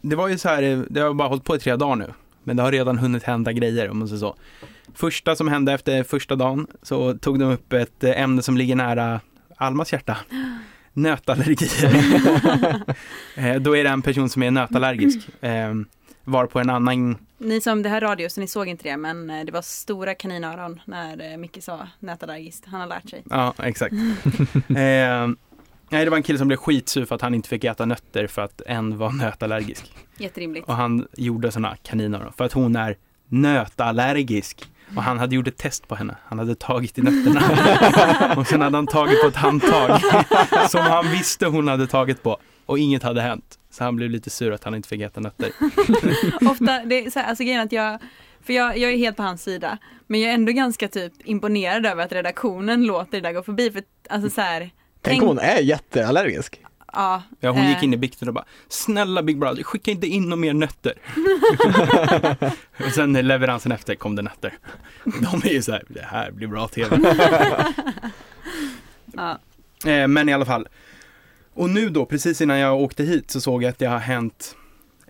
S1: det var ju så här, eh, det har bara hållit på i tre dagar nu. Men det har redan hunnit hända grejer om man säger så. Första som hände efter första dagen så tog de upp ett eh, ämne som ligger nära Almas hjärta. Nötallergier. eh, då är det en person som är nötallergisk. Eh, varpå en annan
S2: Ni som, det här är radio så ni såg inte det men eh, det var stora kaninöron när eh, Micke sa nätallergist. Han har lärt sig.
S1: Ja, exakt. eh, nej, det var en kille som blev skitsur för att han inte fick äta nötter för att en var nötallergisk.
S2: Jätterimligt.
S1: Och han gjorde sådana kaninöron för att hon är nötallergisk. Och han hade gjort ett test på henne. Han hade tagit i nötterna. och sen hade han tagit på ett handtag som han visste hon hade tagit på. Och inget hade hänt. Så han blev lite sur att han inte fick äta nötter.
S2: Ofta, det är så här, alltså grejen är att jag, för jag, jag är helt på hans sida. Men jag är ändå ganska typ imponerad över att redaktionen låter det där gå förbi. För alltså så här,
S3: Tänk om hon är jätteallergisk.
S2: ja,
S1: Ja, hon gick
S2: eh,
S1: in i bikten och bara Snälla Big Brother, skicka inte in några mer nötter. och sen när leveransen efter kom det nötter. De är ju så här, det här blir bra TV.
S2: ja.
S1: Eh, men i alla fall. Och nu då, precis innan jag åkte hit så såg jag att det har hänt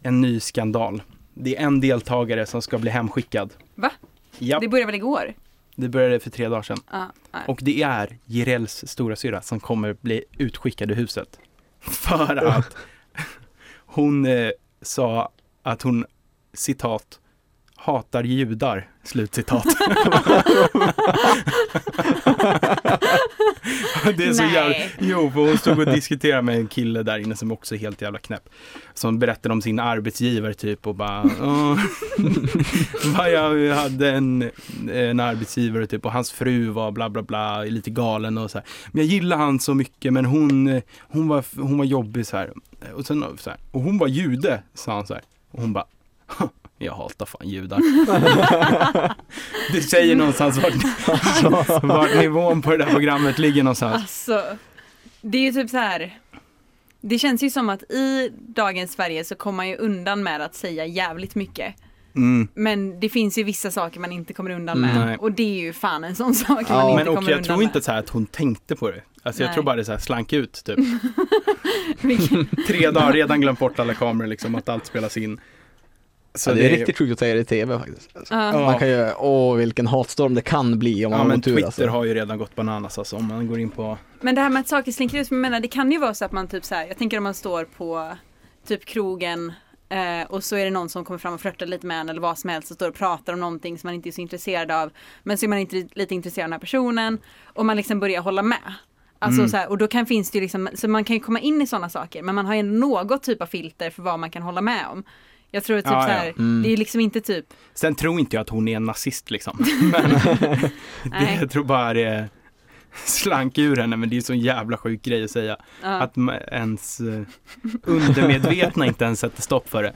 S1: en ny skandal. Det är en deltagare som ska bli hemskickad.
S2: Va?
S1: Ja,
S2: Det började väl igår?
S1: det började för tre dagar sedan.
S2: Ja, ja.
S1: Och det är Jirels storasyrra som kommer bli utskickad ur huset. För att hon eh, sa att hon, citat, hatar judar, slutcitat. det är så
S2: Nej.
S1: jävla, jo för hon stod och diskuterade med en kille där inne som också är helt jävla knäpp. Som berättade om sin arbetsgivare typ och bara, "Åh." Vad jag hade en, en arbetsgivare typ och hans fru var bla bla bla, lite galen och så här. Men jag gillar han så mycket men hon, eh, hon, var, hon var jobbig så här. Och, sen, så här. och hon var jude, sa han så här. Och hon bara, "Ha, jag hatar fan judar. det säger någonstans vart, vart nivån på det där programmet ligger någonstans.
S2: Alltså, det är ju typ så här. Det känns ju som att i dagens Sverige så kommer man ju undan med att säga jävligt mycket.
S1: Mm.
S2: Men det finns ju vissa saker man inte kommer undan med.
S1: Nej.
S2: Och det är ju fan en sån sak
S3: Ja.
S2: man inte
S1: Men och
S2: kommer
S1: jag
S2: undan
S1: tror
S2: med.
S1: inte så här att hon tänkte på det. Alltså jag
S2: Nej.
S1: tror bara det så här slank ut typ.
S2: Vilken-
S1: Tre dagar, redan glömt bort alla kameror liksom, att allt spelas in. Så
S3: Ja, det är riktigt sjukt att säga det i tv faktiskt. Alltså,
S2: Ja.
S3: Man kan ju, åh vilken hatstorm det kan bli om man
S1: Ja
S3: har
S1: men
S3: otur
S1: Twitter
S3: alltså.
S1: har ju redan gått bananas alltså om man går in på
S2: Men det här med att saker slinker ut, men jag menar, det kan ju vara så att man typ så här, jag tänker om man står på typ krogen eh, och så är det någon som kommer fram och flörtar lite med en eller vad som helst och står och pratar om någonting som man inte är så intresserad av. Men så är man inte lite intresserad av den här personen och man liksom börjar hålla med.
S1: Mm.
S2: Alltså så här, och då kan finns det ju liksom, så man kan ju komma in i sådana saker men man har ju något typ av filter för vad man kan hålla med om. Jag tror att typ
S1: Ja, Mm. ja.
S2: så här, det är ju liksom inte typ,
S1: Sen tror inte jag att hon är en nazist liksom. Men det,
S2: Nej.
S1: jag tror bara det slank ur henne men det är så en jävla sjuk grej att säga.
S2: ja.
S1: Att ma- ens eh, undermedvetna inte ens sätter stopp för det.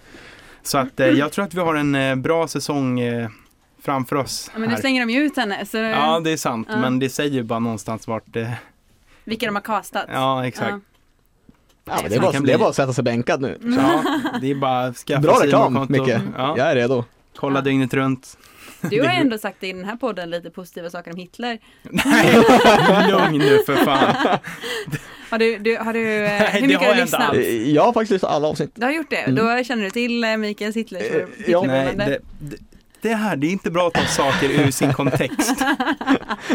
S1: Så att eh, jag tror att vi har en eh, bra säsong eh, framför oss.
S2: Ja, men nu
S1: här.
S2: slänger de ju ut henne, så
S1: Ja det är sant
S2: Mm. Ja.
S1: men det säger ju bara någonstans vart eh,
S2: vilka de har castat.
S1: Ja exakt.
S3: Ja, men det,
S1: Man
S3: är bara,
S1: kan
S3: det är
S1: bli-
S3: bara att sätta sig bänkad nu.
S1: Så, ja,
S2: Mm.
S1: det är bara att skaffa
S3: Bra
S1: sig
S3: reklam,
S1: konto.
S3: Micke.
S1: Ja,
S3: Jag är redo.
S1: Kolla
S2: Ja.
S1: dygnet runt.
S2: Du har
S1: Det-
S2: ändå sagt i den här podden lite positiva saker om Hitler.
S1: Nej, lugn nu för fan.
S2: Har du, du, har du eh,
S1: Nej, det
S2: hur mycket
S1: har
S2: har
S1: jag
S2: du
S1: inte
S2: lyssnat?
S1: alls.
S3: Eh,
S1: Mm.
S3: Jag har faktiskt lyssnat alla avsnitt.
S2: Du har gjort det, då känner du till eh, Mikaels Hitler,
S3: Eh, ja.
S1: Nej,
S2: Hitlerberoende.
S1: det, det, det här, det är inte bra att ta saker ur sin kontext.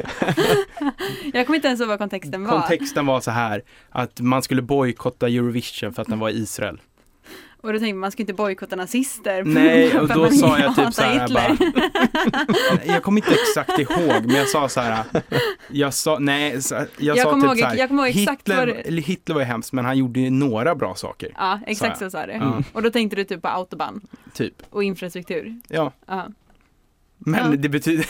S2: Jag kommer inte ens ihåg vad kontexten var.
S1: Kontexten var så här, att man skulle bojkotta Eurovision för att den var i Israel.
S2: Och då tänkte man, man ska inte bojkotta nazister.
S1: Nej, och
S2: för
S1: då
S2: man
S1: sa jag
S2: hatar
S1: typ så här, jag,
S2: Hitler.
S1: bara, jag kommer inte exakt ihåg, men jag sa så här, jag sa, nej, så- jag,
S2: Jag
S1: sa
S2: kommer
S1: typ
S2: ihåg-
S1: så här,
S2: jag kommer ihåg exakt
S1: Hitler,
S2: vad det-
S1: eller Hitler var ju hemskt, men han gjorde ju några bra saker,
S2: Ja, exakt
S1: Sa
S2: så sa du.
S1: Ja.
S2: Och då tänkte du typ på autobahn
S1: typ.
S2: och infrastruktur.
S1: Ja,
S2: Ja.
S1: men
S2: Ja.
S1: det betyder,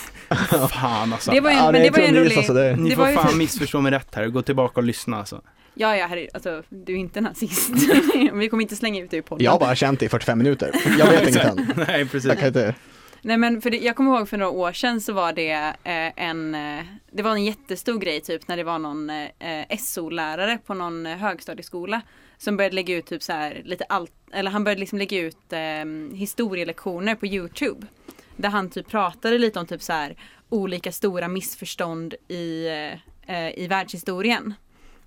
S1: fan alltså.
S2: Det var ju,
S3: Ja,
S2: men det
S3: är
S2: var ju en
S3: tunnis,
S2: rolig...
S3: alltså, det är-
S1: Ni
S2: det
S1: får
S2: var ju
S1: fan
S2: typ-
S1: missförstå mig rätt här och gå tillbaka och lyssna alltså.
S2: Ja, ja, herregud, alltså du är inte nazist. Vi kommer inte slänga ut dig i podden.
S3: Jag har bara känt det i 45 minuter. Jag vet inget än.
S1: Nej, precis.
S3: Jag kan inte...
S2: Nej men för det, jag kommer ihåg för några år sedan så var det eh, en eh, Det var en jättestor grej typ när det var någon eh, SO-lärare på någon eh, högstadieskola Som började lägga ut typ så här lite allt Eller han började liksom lägga ut eh, historielektioner på Youtube Där han typ pratade lite om typ så här Olika stora missförstånd i, eh, i världshistorien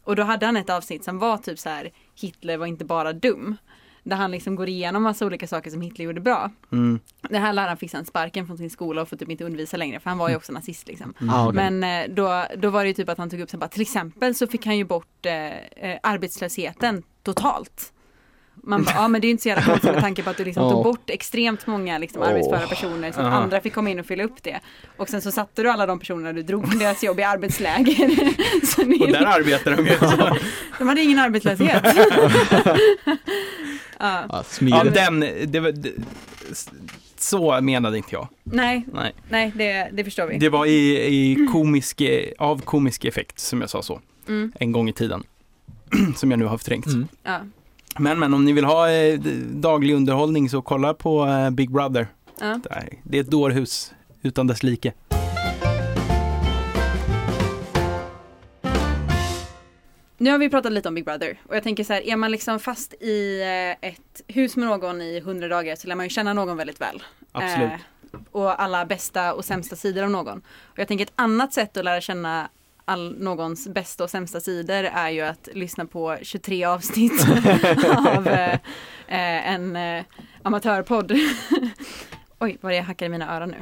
S2: Och då hade han ett avsnitt som var typ så här Hitler var inte bara dum Där han liksom går igenom massa olika saker som Hitler gjorde bra
S1: Mm.
S2: den här läraren fick sen sparken från sin skola och får typ inte undervisa längre för han var ju också nazist
S1: Mm.
S2: liksom.
S3: Ah, okej.
S2: Men eh, då, då var det ju typ att han tog upp sen bara till exempel så fick han ju bort eh, eh, arbetslösheten totalt. Man bara, ja men det är ju inte så jävla konstigt med tanke på att du liksom
S3: Ja.
S2: tog bort extremt många liksom
S3: Åh.
S2: arbetsföra personer så att
S1: Ja.
S2: andra fick komma in och fylla upp det. Och sen så satte du alla de personerna du drog från deras jobb i arbetsläger. så ni,
S1: Och där arbetar de ju. Så.
S2: De hade ingen arbetslöshet. ja.
S3: Ja,
S1: Ja,
S3: smidigt.
S1: den, det, var- det, s- så menade inte jag.
S2: Nej,
S1: Nej.
S2: nej det, det förstår vi.
S1: Det var i, i komisk, av komisk effekt som jag sa så,
S2: Mm,
S1: en gång i tiden. som jag nu har förträngt.
S3: Mm.
S2: ja.
S1: Men men om ni vill ha eh, d- daglig underhållning så kolla på eh, Big Brother.
S2: Ja.
S1: Det är- Det är ett dårhus utan dess like.
S2: Nu har vi pratat lite om Big Brother och jag tänker så här, är man liksom fast i eh, ett hus med någon i hundra dagar så lär man ju känna någon väldigt väl.
S1: Absolut.
S2: Eh, och alla bästa och sämsta sidor av någon. Och jag tänker ett annat sätt att lära känna all, någons bästa och sämsta sidor är ju att lyssna på 23 avsnitt av eh, eh, en eh, amatörpodd. Oj, vad det jag hackar i mina öron nu.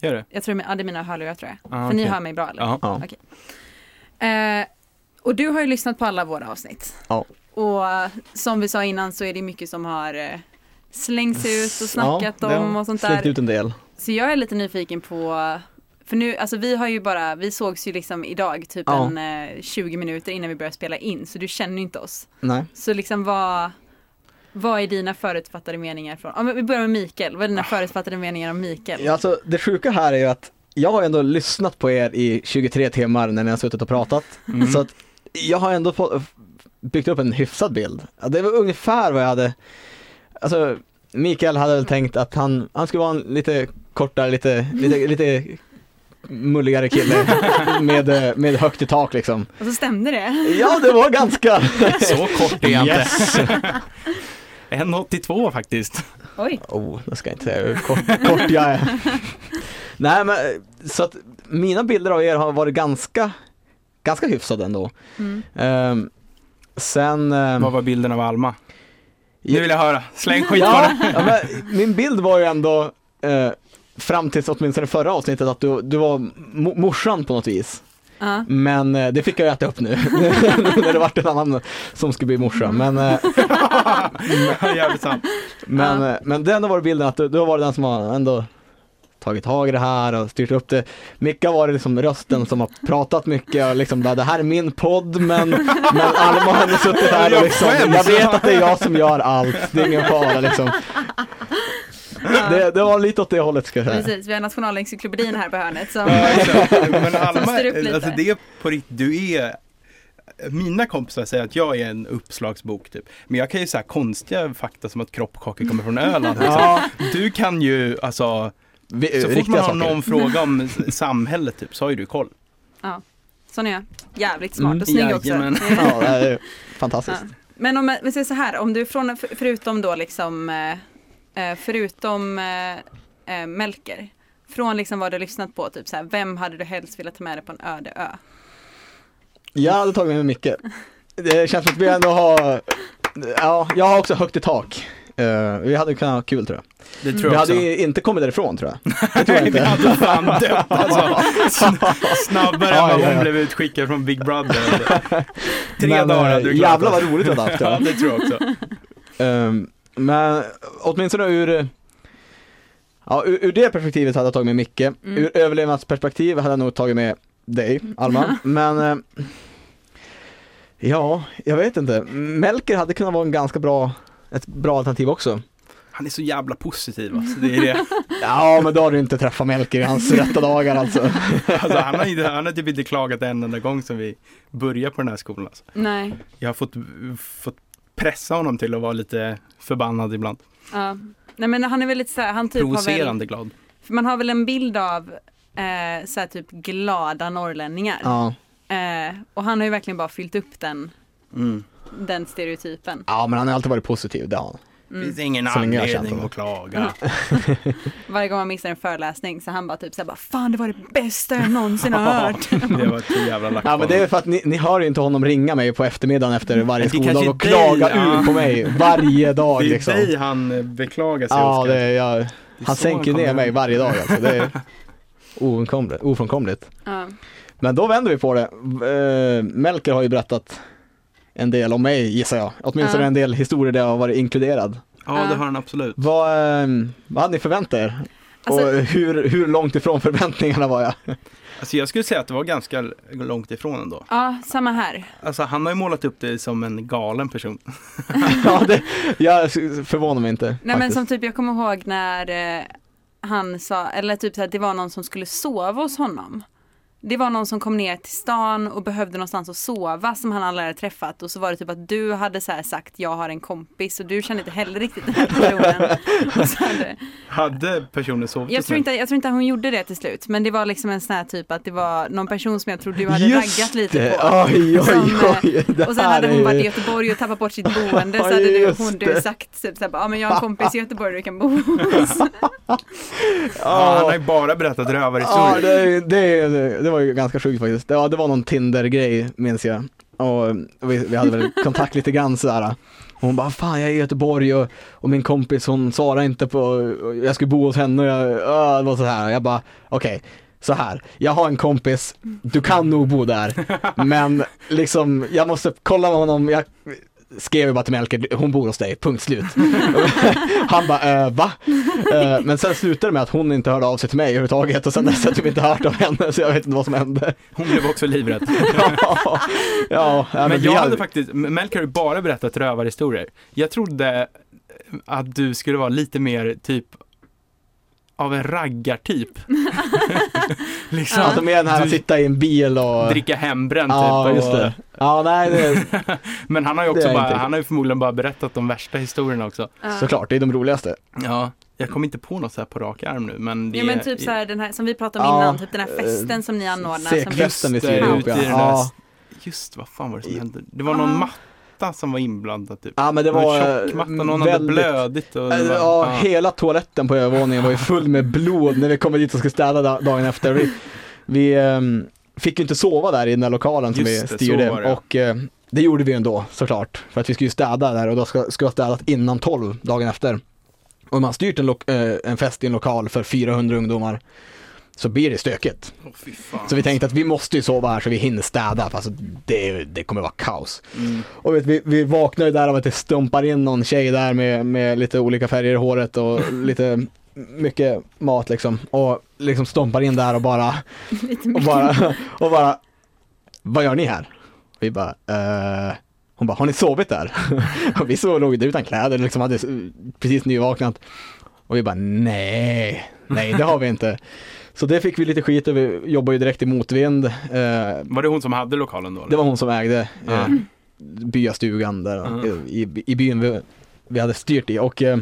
S1: Gör det?
S2: Jag tror, ja, det är mina hörlurar tror jag.
S1: Ah,
S2: För ni
S1: okej.
S2: hör mig bra eller?
S1: Ja.
S3: Ja.
S2: Eh, och du har ju lyssnat på alla våra avsnitt.
S3: Ja.
S2: Och eh, som vi sa innan så är det mycket som har eh, slängts ut och snackat
S3: Ja, det har
S2: om och sånt
S3: Slängt
S2: där.
S3: ut en del.
S2: Så jag är lite nyfiken på, för nu, alltså vi har ju bara, vi sågs ju liksom idag typ
S3: Ja.
S2: en eh, 20 minuter innan vi började spela in så du känner ju inte oss.
S3: Nej.
S2: Så liksom vad, vad är dina förutfattade meningar från, ja men vi börjar med Mikael, vad är dina förutfattade meningar om Mikael?
S3: Ah. Ja, Alltså, det sjuka här är ju att jag har ändå lyssnat på er i 23 timmar när ni har suttit och pratat.
S1: Mm.
S3: Så att jag har ändå fått, byggt upp en hyfsad bild. Ja, Det var ungefär vad jag hade, alltså Mikael hade väl tänkt att han, han skulle vara en lite kortare, lite, lite, lite mulligare kille med, eh, med högt i tak liksom.
S2: Och så stämde det.
S3: Ja, det var ganska
S1: Så kort är jag inte. 1,82 faktiskt.
S2: Oj.
S3: Oh, jag ska inte säga hur kort, kort jag är. Nej men, så att mina bilder av er har varit ganska, ganska hyfsade ändå.
S2: Mm.
S3: Ehm, sen... ehm,
S1: Vad var bilden av Alma? Nu vill jag höra, släng skit
S3: ja,
S1: bara.
S3: ja, men, Min bild var ju ändå, eh, fram tills åtminstone förra avsnittet, att du, du var mo- morsan på något vis.
S2: Ja.
S3: Men eh, det fick jag ju äta upp nu, när det vart en annan som skulle bli morsa. Men, eh,
S1: Jävligt sant.
S3: Men,
S2: Ja.
S3: eh, men det har ändå varit bilden att du, du har varit den som har ändå tagit tag i det här och styrt upp det. Micke har varit liksom rösten som har pratat mycket och liksom bara, det här är min podd men, men Alma har ändå suttit här och
S1: Jag
S3: liksom,
S1: skäms.
S3: jag vet att det är jag som gör allt, det är ingen fara liksom. Det, det var lite åt det hållet ska jag säga.
S2: Precis, vi har Nationalencyklopedin här på hörnet som
S1: Ja, exakt. Men Alma,
S2: styr upp lite.
S1: alltså det är på riktigt, du är mina kompisar säger att jag är en uppslagsbok typ. Men jag kan ju säga konstiga fakta som att kroppkakor kommer från Öland. Liksom.
S3: Ja,
S1: Du kan ju alltså,
S3: vi,
S1: så fort man
S3: riktiga
S1: har
S3: saker.
S1: någon fråga om s- samhället typ så har ju du koll.
S2: Sån är jag. Jävligt smart
S3: Mm.
S2: och snygg också.
S1: Jajamän.
S3: Ja, det är fantastiskt.
S2: Ja. Men om vi säger så här, om du från, för- förutom då liksom, eh, eh, förutom eh, eh, Melker, från liksom vad du lyssnat på, typ så här, vem hade du helst velat ta med dig på en öde ö?
S3: Jag hade tagit med mig Micke. Det känns som att vi ändå har, ja, jag har också högt i tak. Eh, vi hade kunnat ha kul tror jag.
S1: Det
S2: Mm.
S1: tror
S3: Vi
S1: jag
S3: hade
S1: också.
S3: ju inte kommit därifrån tror jag. Det tror jag
S1: Vi
S3: inte.
S1: hade fan dött alltså. Sn- Snabbare än
S3: Ja,
S1: vad
S3: ja, ja.
S1: hon blev utskickad från Big Brother. Tre
S3: Men,
S1: dagar
S3: eh,
S1: hade du klarat
S3: Jävlar vad
S1: alltså.
S3: roligt jag hade haft.
S1: Ja,
S3: Ja.
S1: det tror jag också.
S3: Ehm, men åtminstone ur eh, Ja, ur, ur det perspektivet hade jag tagit med Micke. Ur överlevnadsperspektiv hade jag nog tagit med dig, Alma. Men eh, Ja, jag vet inte. Melker hade kunnat vara en ganska bra, ett bra alternativ också.
S1: Han är så jävla positiv alltså. Det är det.
S3: Ja, men då har du inte träffat Melker i hans rätta dagar alltså.
S1: Alltså, han, har inte, han har typ inte klagat en enda gång som vi började på den här skolan. Alltså.
S2: Nej,
S1: Jag har fått, fått pressa honom till att vara lite förbannad ibland.
S2: ja. Nej men han är Typ, väl lite så här, han typ har väl,
S1: Provocerande glad.
S2: för man har väl en bild av eh, så här typ glada norrlänningar.
S3: Ja,
S2: Eh, och han har ju verkligen bara fyllt upp den,
S1: Mm.
S2: den stereotypen. Mm.
S3: ja men han har alltid varit positiv, det har han.
S1: Det finns ingen
S3: Så länge jag har känt
S1: anledning
S3: honom.
S1: att klaga.
S2: Varje gång man missar en föreläsning så han bara typ såhär bara Fan det var det bästa jag någonsin har hört.
S1: Det var ett jävla lack på
S3: Ja men det är
S1: honom.
S3: för att ni, ni hör ju inte honom ringa mig på eftermiddagen efter varje
S1: Det kanske
S3: skoldag och
S1: är dig,
S3: klaga
S1: ja.
S3: ur på mig varje dag
S1: det är
S3: liksom.
S1: dig han beklagar sig
S3: Ja,
S1: Oscar.
S3: det är, jag,
S1: Det är
S3: han
S1: så
S3: sänker ju
S1: kommer
S3: ner
S1: hem.
S3: mig varje dag alltså. Det är ofrånkomligt. ofrånkomligt.
S2: Ja.
S3: Men då vänder vi på det. Eh, Melker har ju berättat en del om mig gissar jag. Åtminstone
S2: Ja.
S3: en del historier där jag har varit inkluderad.
S1: Ja, det
S2: Ja.
S1: har han absolut.
S3: Vad, eh, vad hade ni förväntat er?
S2: Alltså-
S3: Och hur, hur långt ifrån förväntningarna var jag?
S1: Alltså jag skulle säga att det var ganska långt ifrån ändå.
S2: Ja, samma här.
S1: Alltså han har ju målat upp dig som en galen person.
S3: ja, det, jag förvånar mig inte.
S2: Nej men
S3: faktiskt.
S2: som typ jag kommer ihåg när eh, han sa, eller typ så här, det var någon som skulle sova hos honom. Det var någon som kom ner till stan och behövde någonstans att sova som han aldrig hade träffat och så var det typ att du hade så här sagt jag har en kompis och du kände inte heller riktigt den här personen. Och så hade,
S1: Hade personen sovit
S2: jag,
S1: hos
S2: tror
S1: mig?
S2: inte, jag tror inte hon gjorde det till slut men det var liksom en sån här typ att det var någon person som jag tror du hade raggat lite
S3: det.
S2: på.
S3: Oj, oj,
S2: Som, eh,
S3: oj. det
S2: Och sen
S3: här
S2: hade
S3: är ju-
S2: hon varit i Göteborg och tappat bort sitt boende så hade du,
S3: Just
S2: hon, du
S3: det.
S2: sagt typ såhär, ja men jag har en kompis i Göteborg du kan bo hos.
S1: Ja, han har ju bara berättat
S3: Ja,
S1: rövarhistorier.
S3: det, det, det var ju ganska sjukt faktiskt. Ja, det var någon Tinder-grej minns jag. Och vi, vi hade väl kontakt lite grann sådär. Och Hon bara, fan jag är i Göteborg och, och min kompis hon svarar inte på, och jag skulle bo hos henne och jag, ah, det var så här. Jag bara, okej, så här. Jag har en kompis, du kan nog bo där. Men liksom, jag måste kolla med honom, jag skrev ju bara till Melker, hon bor hos dig, punkt slut. Han bara, äh, va? Eh, men sen slutade det med att hon inte hörde av sig till mig överhuvudtaget och sen dess har jag typ inte hört av henne så jag vet inte vad som hände.
S1: Hon blev också livrädd.
S3: ja, ja, nej,
S1: men
S3: vi
S1: jag
S3: hade-
S1: hade faktiskt, Melker har ju bara berättat rövarhistorier. Jag trodde att du skulle vara lite mer typ av en raggartyp. liksom,
S3: Alltså med den här att
S1: Du-
S3: sitta i en bil och...
S1: dricka hembränt
S3: ja,
S1: typ.
S3: just
S1: och-
S3: det. Ja, nej, det,
S1: Men han har ju
S3: Det är
S1: också
S3: jag
S1: bara,
S3: inte.
S1: han har ju förmodligen bara berättat de värsta historierna också.
S3: såklart, det är de roligaste.
S1: Ja, jag kommer inte på något så här på rak arm nu men det
S2: Ja men typ så här, den här som vi pratade om
S3: Ja, eh,
S2: innan, typ den här festen som ni anordnar. Som
S3: säkert.
S2: vi,
S1: Just
S3: festen vi
S1: det,
S3: skrev ihop,
S1: ute i
S3: ja.
S1: den där,
S3: Ja.
S1: just vad fan var det som hände? Det var någon
S2: Ah.
S1: matta som var inblandad typ.
S3: Ja, men det
S1: Det var
S3: var...
S1: en
S3: eh,
S1: tjock matta, någon hade blödigt och... det
S3: Äh,
S1: var-
S3: Ja, hela toaletten på övervåningen var ju full med blod när vi kom dit och skulle städa da- dagen efter. Vi, vi ehm, fick ju inte sova där i den där lokalen som
S1: Just
S3: vi
S1: det,
S3: styrde
S1: så var det.
S3: och eh, det gjorde vi ju ändå såklart. För att vi skulle ju städa där och då ska- skulle ha städat innan 12 dagen efter. Och om man styrt en, lo- eh, en fest i en lokal för 400 ungdomar så blir det stökigt.
S1: Åh, fy fan.
S3: Så vi tänkte att vi måste ju sova här så vi hinner städa för alltså, det, det kommer vara kaos.
S1: Mm.
S3: Och vet, vi, vi vaknar ju där av att det stumpar in någon tjej där med, med lite olika färger i håret och lite mycket mat liksom. Och liksom stumpar in där och bara,
S2: lite
S3: och
S2: mycket.
S3: bara, och bara Vad gör ni här? Vi bara, eh, Hon bara, har ni sovit där? Och vi sov, låg där utan kläder, liksom hade precis nyvaknat. Och vi bara, nej, nej det har vi inte. Så det fick vi lite skit och vi jobbar ju direkt i motvind. Eh,
S1: Var det hon som hade lokalen då? eller?
S3: det var hon som ägde
S1: Ja.
S3: eh, byastugan där
S1: Ja.
S3: eh, i, i byn vi, vi hade styrt i och eh,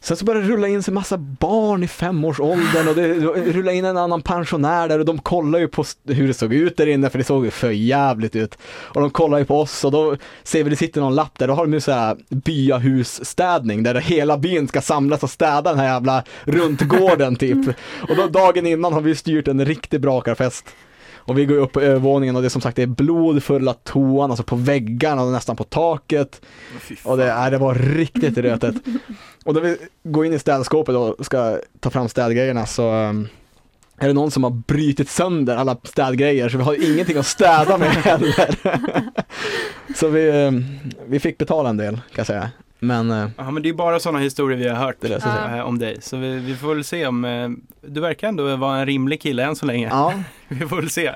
S3: sen så började det rulla in sig massa barn i femårsåldern och det rullade in en annan pensionär där och de kollade ju på st- hur det såg ut där inne för det såg ju för jävligt ut. Och de kollade ju på oss och då ser vi det sitter någon lapp där, då har de ju så här byahusstädning där hela byn ska samlas och städa den här jävla runtgården typ. Och då, dagen innan har vi styrt en riktig brakarfest. Och vi går ju upp på övervåningen och det är som sagt det är blod fulla toan, alltså på väggarna och nästan på taket.
S1: Åh, fy fan.
S3: Och det, nej, det var riktigt rötet. Och när vi går in i städskåpet och ska ta fram städgrejerna så um, är det någon som har brutit sönder alla städgrejer så vi har ju ingenting att städa med heller. så vi, um, vi fick betala en del kan jag säga. Men eh,
S1: Ja men det är bara sådana historier vi har hört
S3: Det löser
S2: sig.
S1: eh, om dig. Så vi, vi får väl se om, eh, du verkar ändå vara en rimlig kille än så länge.
S3: ja,
S1: Vi får väl se.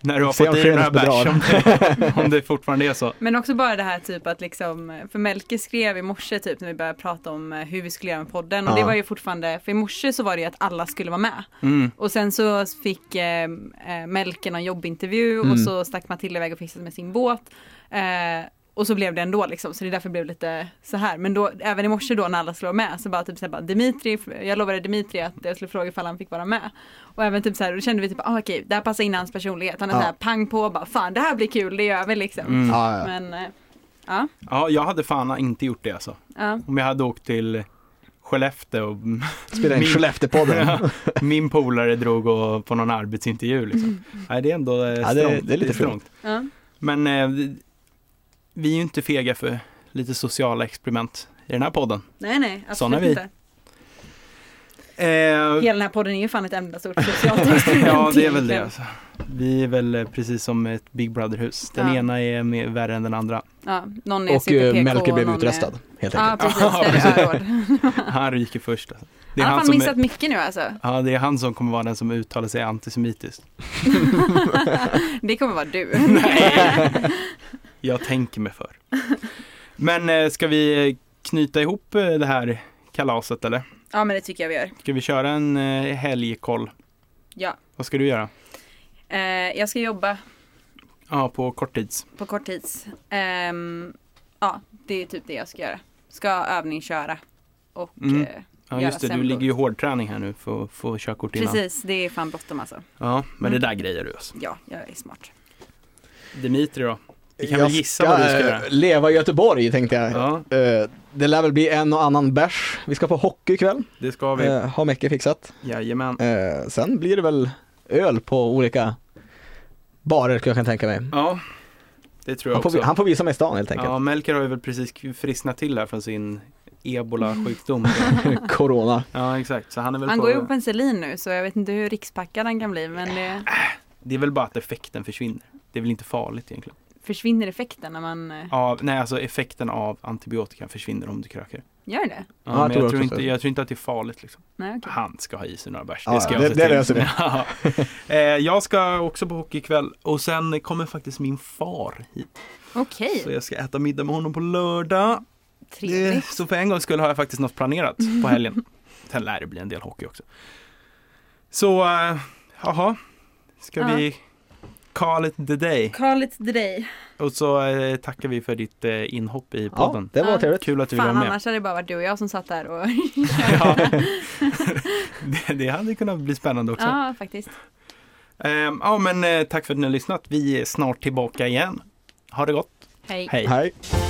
S1: När du har
S3: Se om
S1: fått i dig några
S3: skenet
S1: bärs om det, om det fortfarande är så.
S2: Men också bara det här typ att liksom, för Melke skrev i morse typ när vi började prata om eh, hur vi skulle göra med podden och det
S3: Ja.
S2: var ju fortfarande, för i morse så var det ju att alla skulle vara med.
S1: Mm.
S2: Och sen så fick eh, eh, Melke någon jobbintervju
S3: Mm.
S2: och så stack Matilda iväg och fixade med sin båt. Eh, och så blev det ändå liksom, så det är därför det blev lite så här. Men då, även i morse då när alla slår med så bara typ såhär bara Dimitri, jag lovade Dimitri att jag skulle fråga ifall han fick vara med. Och även typ såhär, då kände vi typ, ah, okej, det här passar in i hans personlighet. Han är
S3: Ja.
S2: såhär pang på bara, fan det här blir kul, det gör vi liksom.
S1: Mm.
S3: ja, ja.
S2: Men eh, ja,
S1: Ja, jag hade fan inte gjort det alltså.
S2: ja.
S1: Om jag hade åkt till Skellefteå och
S3: spela in
S1: Min-
S3: Skelleftepodden.
S1: Ja, min polare drog och, på någon arbetsintervju liksom. Nej, det är ändå eh,
S3: Ja,
S1: strångt.
S3: det- det är lite
S1: strångt.
S2: ja.
S1: Men eh, vi- vi är ju inte fega för lite sociala experiment i den här podden.
S2: Nej nej, absolut
S1: Såna är vi.
S2: inte.
S1: Eh,
S2: Hela den här podden är ju fan ett enda stort socialt experiment
S1: Ja, det är väl det.
S2: egentligen.
S1: Alltså. Vi är väl eh, precis som ett Big Brother-hus. Den
S2: Ja.
S1: ena är mer värre än den andra.
S2: Ja, någon är
S3: Och eh,
S2: CPK,
S3: Melker blev
S2: någon är-
S3: utröstad helt
S2: Ja,
S3: enkelt.
S2: precis.
S1: Ja,
S2: Det är Ögård.
S1: Han ryker först. Alltså. Det, är
S2: Han har
S1: han
S2: fan
S1: som
S2: missat
S1: är,
S2: mycket nu alltså.
S1: ja, det är han som kommer vara den som uttalar sig antisemitiskt.
S2: Det kommer vara du.
S1: Jag tänker mig för. Men eh, ska vi knyta ihop eh, det här kalaset eller?
S2: Ja men det tycker jag vi gör.
S1: Ska vi köra en eh, helgkoll?
S2: Ja.
S1: Vad ska du göra?
S2: Eh, jag ska jobba
S1: Ja, på korttids.
S2: på kort tids. Ehm, ja, det är typ det jag ska göra. Ska övningsköra. Och
S1: Mm.
S2: eh,
S1: Ja,
S2: Göra
S1: just det. Du
S2: semlor.
S1: ligger ju i hårdträning här nu för att få körkort innan.
S2: precis, det är fan bråttom alltså.
S1: Ja, men
S2: Mm.
S1: det där grejer du alltså.
S2: Ja, jag är smart.
S1: Dimitri då? Vi kan
S3: Jag
S1: väl gissa vad du ska
S3: eh,
S1: göra?
S3: leva i Göteborg tänkte jag.
S1: Ja,
S3: Eh, Det lär väl bli en och annan bärs. Vi ska på hockey ikväll,
S1: det ska vi.
S3: eh, har Mecke fixat.
S1: Jajamän.
S3: Eh, Sen blir det väl öl på olika barer kan jag tänka mig.
S1: Ja, det tror jag
S3: Han får, vi-
S1: också.
S3: han får visa mig stan helt enkelt.
S1: Ja, Melker har ju väl precis frisknat till här från sin ebola-sjukdom.
S3: Corona.
S1: ja, exakt. Så han är väl
S2: Han
S1: på...
S2: går ju på penicillin nu så jag vet inte hur rikspackad han kan bli men det
S1: Det är väl bara att effekten försvinner. Det är väl inte farligt egentligen.
S2: försvinner effekten när man eh,
S1: Av, nej, alltså effekten av antibiotika försvinner om du kröker.
S2: gör det.
S1: Ja,
S3: jag
S1: men
S3: tror
S1: jag,
S3: också
S1: tror inte,
S3: det.
S1: jag tror inte att det är farligt. Liksom.
S2: Nej, okej.
S1: Han ska ha i sig några bärs.
S3: Ja,
S1: Det ska
S3: ja,
S1: jag
S3: det-
S1: se
S3: det
S1: till.
S3: löser vi.
S1: Ja. Eh, jag ska också på hockey ikväll och sen kommer faktiskt min far hit.
S2: Okej,
S1: Så jag ska äta middag med honom på lördag. Det,
S2: trevligt.
S1: så för en gång skulle har jag faktiskt något planerat på helgen. Sen lär det bli en del hockey också. Så, eh, jaha. ska
S2: Ja.
S1: vi call it the day.
S2: Call it the day.
S1: Och så eh, tackar vi för ditt eh, inhopp i
S3: Ja,
S1: podden.
S3: det var
S2: Ja.
S3: trevligt.
S1: Kul att du ville
S2: Fan
S1: vara med.
S2: annars hade det bara varit du och jag som satt där och
S1: Ja. det, det hade kunnat bli spännande också.
S2: Ja, faktiskt.
S1: Ehm, ja men eh, tack för att ni har lyssnat. Vi är snart tillbaka igen. Ha det gott. Hej.
S3: Hej.